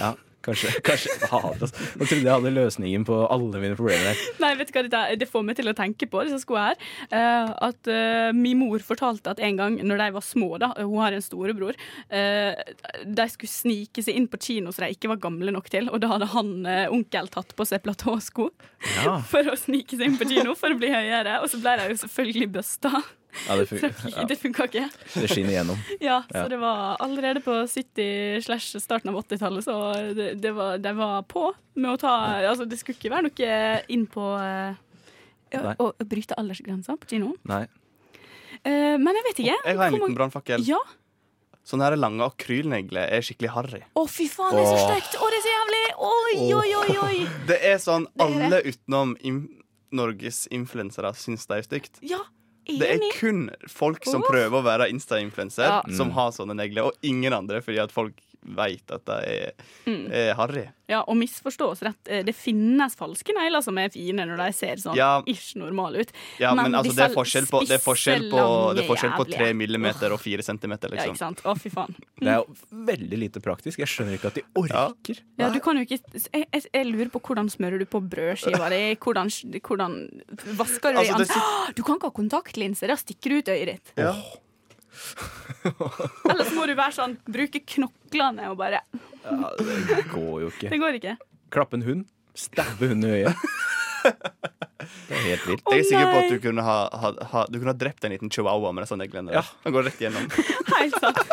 E: ja kanskje. kanskje faen, altså. Nå trodde jeg hadde løsningen på alle mine problemer her.
C: Nei, vet du hva, det, det får meg til å tenke på disse skoene her. Eh, at eh, min mor fortalte at en gang når de var små, da, hun har en storebror, eh, de skulle snike seg inn på kino som de ikke var gamle nok til, og da hadde han eh, onkel tatt på seg platåsko
E: Ja,
C: for å snike seg inn på kino for å bli høyere, og så ble de jo selvfølgelig busta.
E: ja det,
C: [LAUGHS] Så
E: fun ja,
C: Det funka ikke.
E: det skinner gjennom.
C: Ja,
E: Ja.
C: så det var allerede på 70 slash starten av 80-tallet, så det, det var, de var på med å ta Altså, det skulle ikke være noe inn på eh,
E: Nei.
C: å, å bryte aldersgrensa på kinoen.
E: Nei.
C: Eh, men jeg vet ikke.
D: Jeg har en
C: Hvor
D: liten
C: mange-
D: brannfakkel.
C: Ja.
D: Sånne her lange akrylnegler er skikkelig harry.
C: Å, fy faen, det er så stygt! Å, det er så jævlig! Oi, oi, oi! oi.
D: Det er sånn alle utenom im Norges influensere syns det er stygt.
C: Ja,
D: [LAUGHS] Det er
C: enig.
D: kun folk som
C: Uff.
D: prøver å være Insta-influenser,
C: Ja.
D: som har sånne negler, og ingen andre, fordi at folk veit at det er,
C: Mm.
D: er harry.
C: Ja, og misforstå oss rett. eh, Det finnes falske negler som er fine når de ser sånn
D: Ja.
C: ish normale ut.
D: Ja, men, altså, det er
C: disse
D: forskjell på, det er forskjell på,
C: spisse,
D: det er forskjell på
C: lange,
D: 3
C: jævlige-
D: millimeter og 4
C: Ja,
D: centimeter,
C: ikke
D: liksom.
C: sant. Å, fy faen.
E: Det er jo veldig lite praktisk. Jeg skjønner ikke at de orker.
C: Ja, du kan jo ikke jeg, jeg, jeg lurer på hvordan smører du på brødskiva di? Hvordan, hvordan vasker du
D: Altså,
C: i
D: det
C: ansiktet? Ah, Du kan ikke ha kontaktlinser, da stikker du ut øyet ditt.
D: Ja.
C: Ellers må du være sånn, bruke knoklene og bare
E: Ja, det går jo ikke.
C: Det går ikke.
E: Klappe en hund, stabbe hunden i øyet. [LAUGHS] Det er helt vilt.
C: Å,
D: Jeg er sikker på
C: nei.
D: at du kunne ha, ha, ha, du kunne ha drept en liten chihuahua med disse neglene.
E: Ja.
D: der. Den går rett gjennom.
C: Helt sant.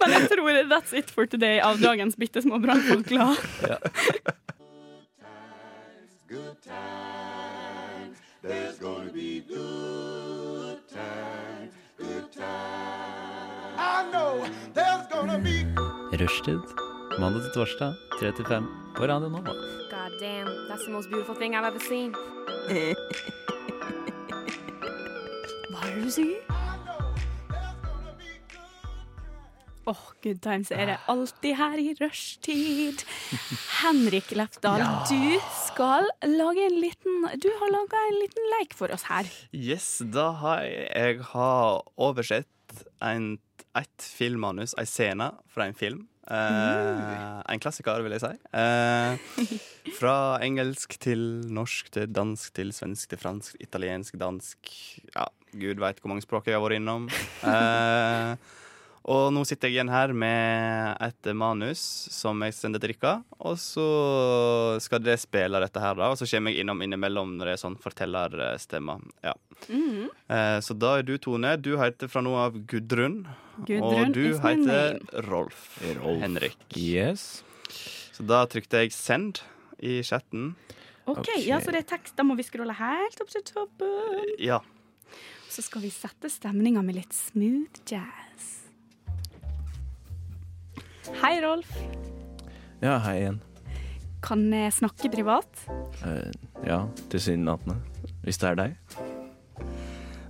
C: Men jeg tror that's it for today av dagens bitte små brannfakler.
G: Rushtid. Mandag til torsdag, 3 til 5 på Radio Nova.
L: God damn, that's the most beautiful thing I've ever seen.
C: Hva er det du sier? Åh, good times er det alltid her i rushtid. Henrik Lefdal, du skal lage en liten Du har laga en liten leik for oss her.
D: Yes, da har jeg, jeg har oversett en, et filmmanus, en scene fra en film. Eh, En klassiker, vil jeg si. Eh, fra engelsk til norsk til dansk til svensk til fransk, italiensk, dansk Ja, gud veit hvor mange språk jeg har vært innom. Eh, og nå sitter jeg igjen her med et manus som jeg sender til dere. Og så skal dere spille dette her, da. Og så kommer jeg innom innimellom når det er sånn fortellerstemmer. Ja. Eh, Så da er du, Tone. Du heter fra nå av Gudrun.
C: Gudrun
D: og du
C: is my
D: heter
C: name.
D: Rolf,
E: Rolf.
D: Henrik.
E: Yes.
D: Så da trykte jeg 'send' i chatten.
C: OK,
E: Ok.
C: ja, så det er tekst. Da må vi skrolle helt opp til toppen.
D: Ja.
C: Så skal vi sette stemninga med litt smooth jazz. Hei, Rolf.
E: Ja, hei igjen.
C: Kan jeg snakke privat?
E: Eh, Ja, tilsynelatende. Hvis det er deg.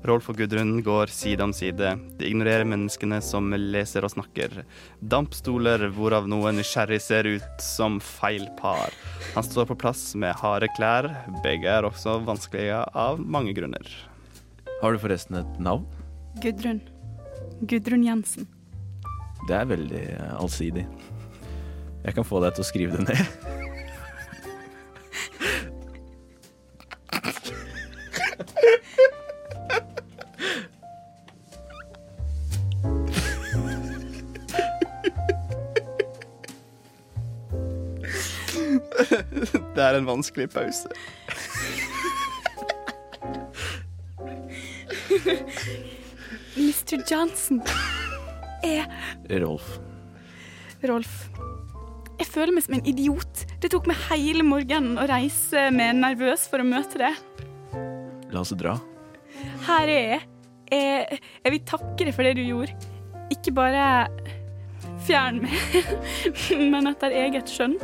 D: Rolf og Gudrun går side om side. De ignorerer menneskene som leser og snakker. Dampstoler hvorav noen nysgjerrig ser ut som feil par. Han står på plass med harde klær. Begge er også vanskelige av mange grunner.
E: Har du forresten et navn?
C: Gudrun. Gudrun Jensen.
E: Det er veldig eh, allsidig. Jeg kan få deg til å skrive det ned.
D: Det er en vanskelig pause.
C: Mr. Johnson er
E: Rolf.
C: Rolf. Jeg føler meg som en idiot. Det tok meg hele morgenen å reise meg nervøs for å møte det.
E: La oss dra.
C: Her er jeg. Jeg, jeg vil takke deg for det du gjorde. Ikke bare fjern meg, [LAUGHS] men etter eget skjønn.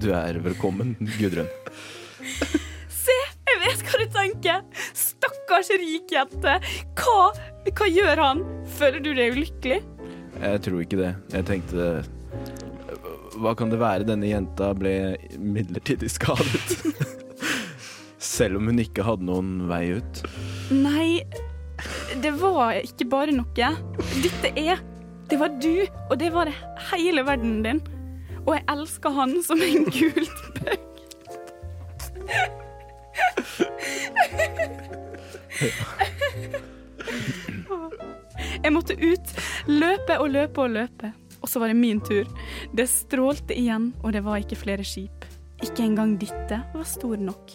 E: Du er velkommen, Gudrun.
C: Se, jeg vet hva du tenker. Stakkars rik jente. Hva, hva gjør han? Føler du deg ulykkelig?
E: Jeg tror ikke det. Jeg tenkte Hva kan det være? Denne jenta ble midlertidig skadet. [LAUGHS] Selv om hun ikke hadde noen vei ut.
C: Nei, det var ikke bare noe. Dette er Det var du, og det var det hele verden din. Og jeg elsker han som en gult bøk. Jeg måtte ut. Løpe og løpe og løpe. Og så var det min tur. Det strålte igjen, og det var ikke flere skip. Ikke engang dette var stor nok.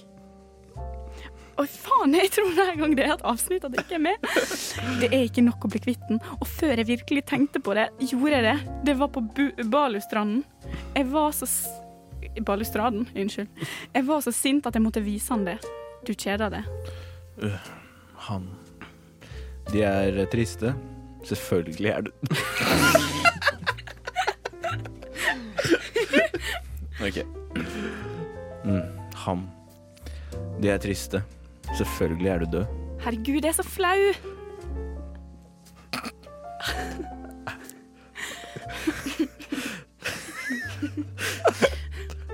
C: Å, faen, jeg tror hver gang det er et avsnitt at jeg ikke er med. Det er ikke nok å bli kvitt den. Og før jeg virkelig tenkte på det, gjorde jeg det. Det var på Bu- Balustranden. Jeg var så s Balustraden, unnskyld. Jeg var så sint at jeg måtte vise han det. Du kjeder deg.
E: Øh, Han De er triste. Selvfølgelig er du [LAUGHS] OK. Mm, han. De er triste. Selvfølgelig er du død.
C: Herregud, jeg er så flau.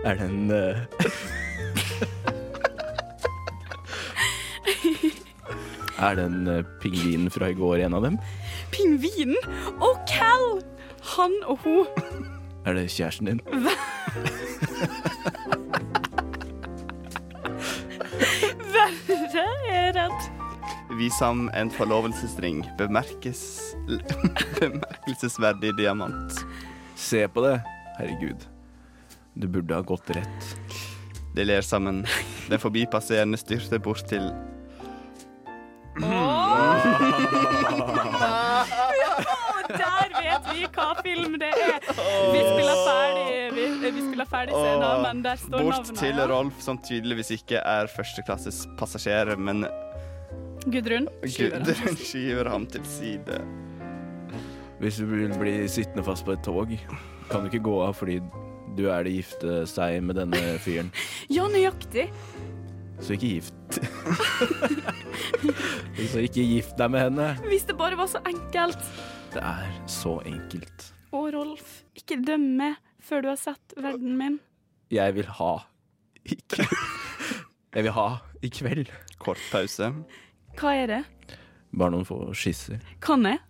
E: Er det en eh, Er det en eh, pingvin fra i går en av dem?
C: Pingvinen og Cal! Han og hun. [LAUGHS]
E: Er det kjæresten din?
C: Verre er redd.
D: Vis ham en forlovelsesring. Bemerkes... [LAUGHS] Bemerkelsesverdig diamant.
E: Se på det. Herregud. Du burde ha gått rett.
D: De ler sammen. Den forbipasserende styrter bort til
C: [LAUGHS] Og der vet vi hva film det er. Vi spiller ferdig, vi, eh, vi spiller ferdig scenen, men der står
D: Bort
C: navnet.
D: til
C: ja.
D: Rolf, som tydeligvis ikke er førsteklasses passasjer, men
C: Gudrun.
D: Gudrun skyver ham til side.
E: Hvis du vil bli sittende fast på et tog, kan du ikke gå av fordi du er det gifte seg med denne fyren.
C: Ja, nøyaktig.
E: Så ikke gift. Så ikke gift deg med henne.
C: Hvis det bare var så enkelt.
E: Det er så enkelt.
C: Å, Rolf, ikke døm meg før du har sett verden min.
E: Jeg vil ha. Ikke [LAUGHS] Jeg vil ha i kveld.
D: Kort pause.
C: Hva er det?
E: Bare noen få skisser.
C: Kan jeg?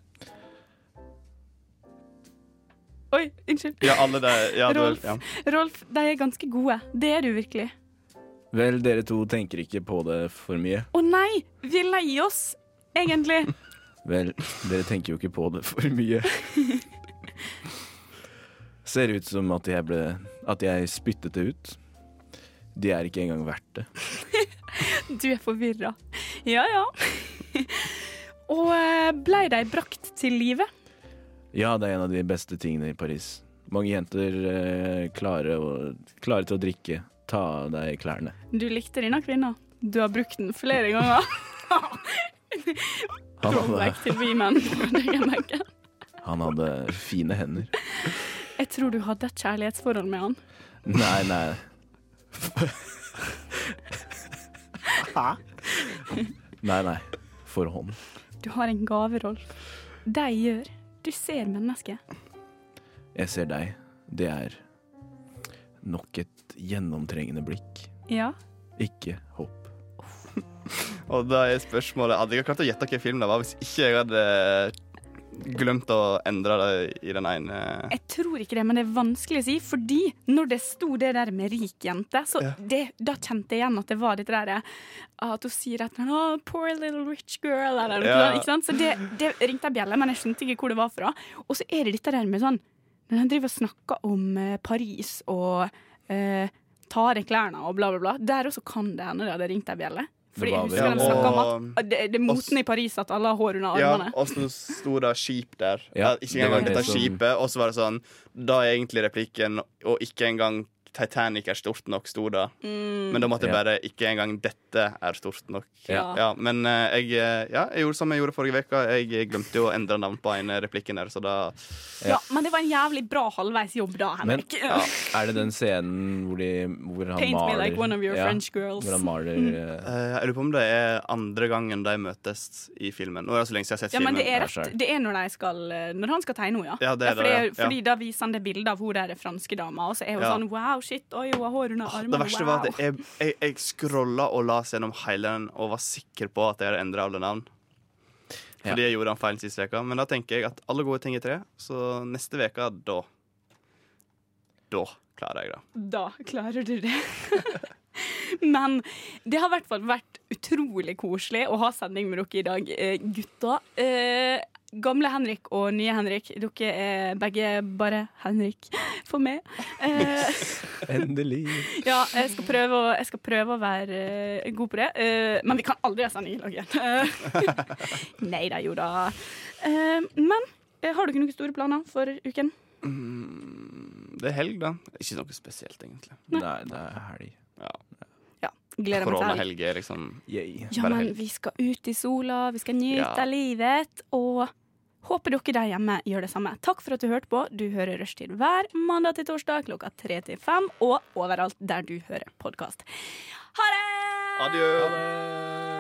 C: Oi, unnskyld.
D: Ja, alle der ja, du-
C: Rolf,
D: ja.
C: Rolf, de er ganske gode. Det er du virkelig.
E: Vel, dere to tenker ikke på det for mye.
C: Å nei, vi er lei oss, egentlig.
E: Vel, dere tenker jo ikke på det for mye. [LAUGHS] Ser ut som at jeg ble At jeg spyttet det ut. De er ikke engang verdt det.
C: Du er forvirra. Ja, ja. [LAUGHS] Og eh, blei de brakt til live?
E: Ja, det er en av de beste tingene i Paris. Mange jenter eh, klare, å, klare til å drikke. Ta av deg klærne.
C: Du likte denne kvinna. Du har brukt den flere ganger.
E: Han
C: Throwback
E: hadde,
C: til vi menn. Det kan jeg merke.
E: han hadde fine hender.
C: Jeg tror du hadde et kjærlighetsforhold med han.
E: Nei, nei. Nei, nei. For hånd.
C: Du har en gave, Rolf. De gjør. Du ser mennesket.
E: Jeg ser deg. Det er nok et gjennomtrengende blikk.
C: Ja.
E: Ikke håp.
D: Og da er spørsmålet Hadde jeg klart å gjette hvilken film det var hvis ikke jeg hadde glemt å endre det i den ene
C: Jeg tror ikke det, men det er vanskelig å si, fordi når det sto det der med rik jente, så
D: Ja.
C: det, da kjente jeg igjen at det var dette der eh, At hun sier at oh, 'poor little rich girl' eller noe
D: Ja.
C: sånt. ikke sant? Så det, det ringte ei bjelle, men jeg skjønte ikke hvor det var fra. Og så er det dette der med sånn Når han driver og snakker om eh, Paris og eh, tar av klærne og bla, bla, bla. Der også kan det hende det hadde ringt ei bjelle. Fordi
D: var
C: jeg husker
D: vel-
C: de snakket om
D: Og-
C: at eh, det, det er moten i Paris at alle har hår under
D: Ja,
C: armene.
D: og så sto det skip der.
E: Ja,
D: Ja, ikke
E: det var liksom-
D: engang
E: det
D: dette
E: som-
D: skipet. Og så var det sånn Da er egentlig replikken Og ikke engang Titanic er stort nok, sto det.
C: Mm.
D: Men da måtte jeg
E: Ja.
D: bare Ikke engang dette er stort nok.
E: Ja.
D: Men eh, jeg, eh, ja, jeg gjorde som jeg gjorde forrige uke. Jeg glemte jo å endre navn på en replikken der, så da
C: Ja, men det var en jævlig bra halvveisjobb da,
E: Men
C: Henrik.
E: er det den scenen hvor, de, hvor
C: [LAUGHS]
E: han
C: Paint me
E: maler
C: like one of your French girls.
E: Hvor han maler
C: Mm.
E: eh,
C: [LAUGHS]
D: Eh, Jeg lurer på om det er andre gangen de møtes i filmen. Nå er det så lenge siden jeg har sett
C: Ja, men
D: filmen.
C: det er, rett, det er når, de skal, eh, når han skal tegne henne, ja.
D: Ja, det er
C: fordi,
D: det, ja.
C: fordi da viser han det bildet av hun der franske dama, og så er hun
D: Ja. Ah,
C: sånn wow, shit, oi, hun har hår under
D: Det
C: armene,
D: verste
C: wow.
D: var at jeg, jeg, jeg scrolla og las gjennom hele den og var sikker på at jeg hadde endra alle navn. Fordi jeg gjorde den feilen sist uke. Men da tenker jeg at alle gode ting er tre, så neste uke, da Da klarer jeg det.
C: [LAUGHS] Da klarer du det. [LAUGHS] Men det har i hvert fall vært utrolig koselig å ha sending med dere i dag, eh, gutta. Eh, gamle Henrik og nye Henrik, dere er begge bare Henrik for meg. Eh,
E: Endelig.
C: Ja, jeg skal prøve å, jeg skal prøve å være eh, god på det. Eh, men vi kan aldri ha sending i lag igjen. Eh, [LAUGHS] Nei da, jo da. Eh, men eh, har dere noen store planer for uken?
D: Mm, Det er helg, da. Ikke noe spesielt, egentlig.
E: Nei, det er helg.
D: Ja.
C: Gleder meg til helg.
D: Koronahelg er liksom
C: Ja,
D: bare
C: men
D: helg.
C: vi skal ut i sola, vi skal nyte
D: Ja.
C: av livet. Og håper dere der hjemme gjør det samme. Takk for at du hørte på. Du hører Rushtid hver mandag til torsdag klokka tre til fem, og overalt der du hører podkast.
D: Adjø.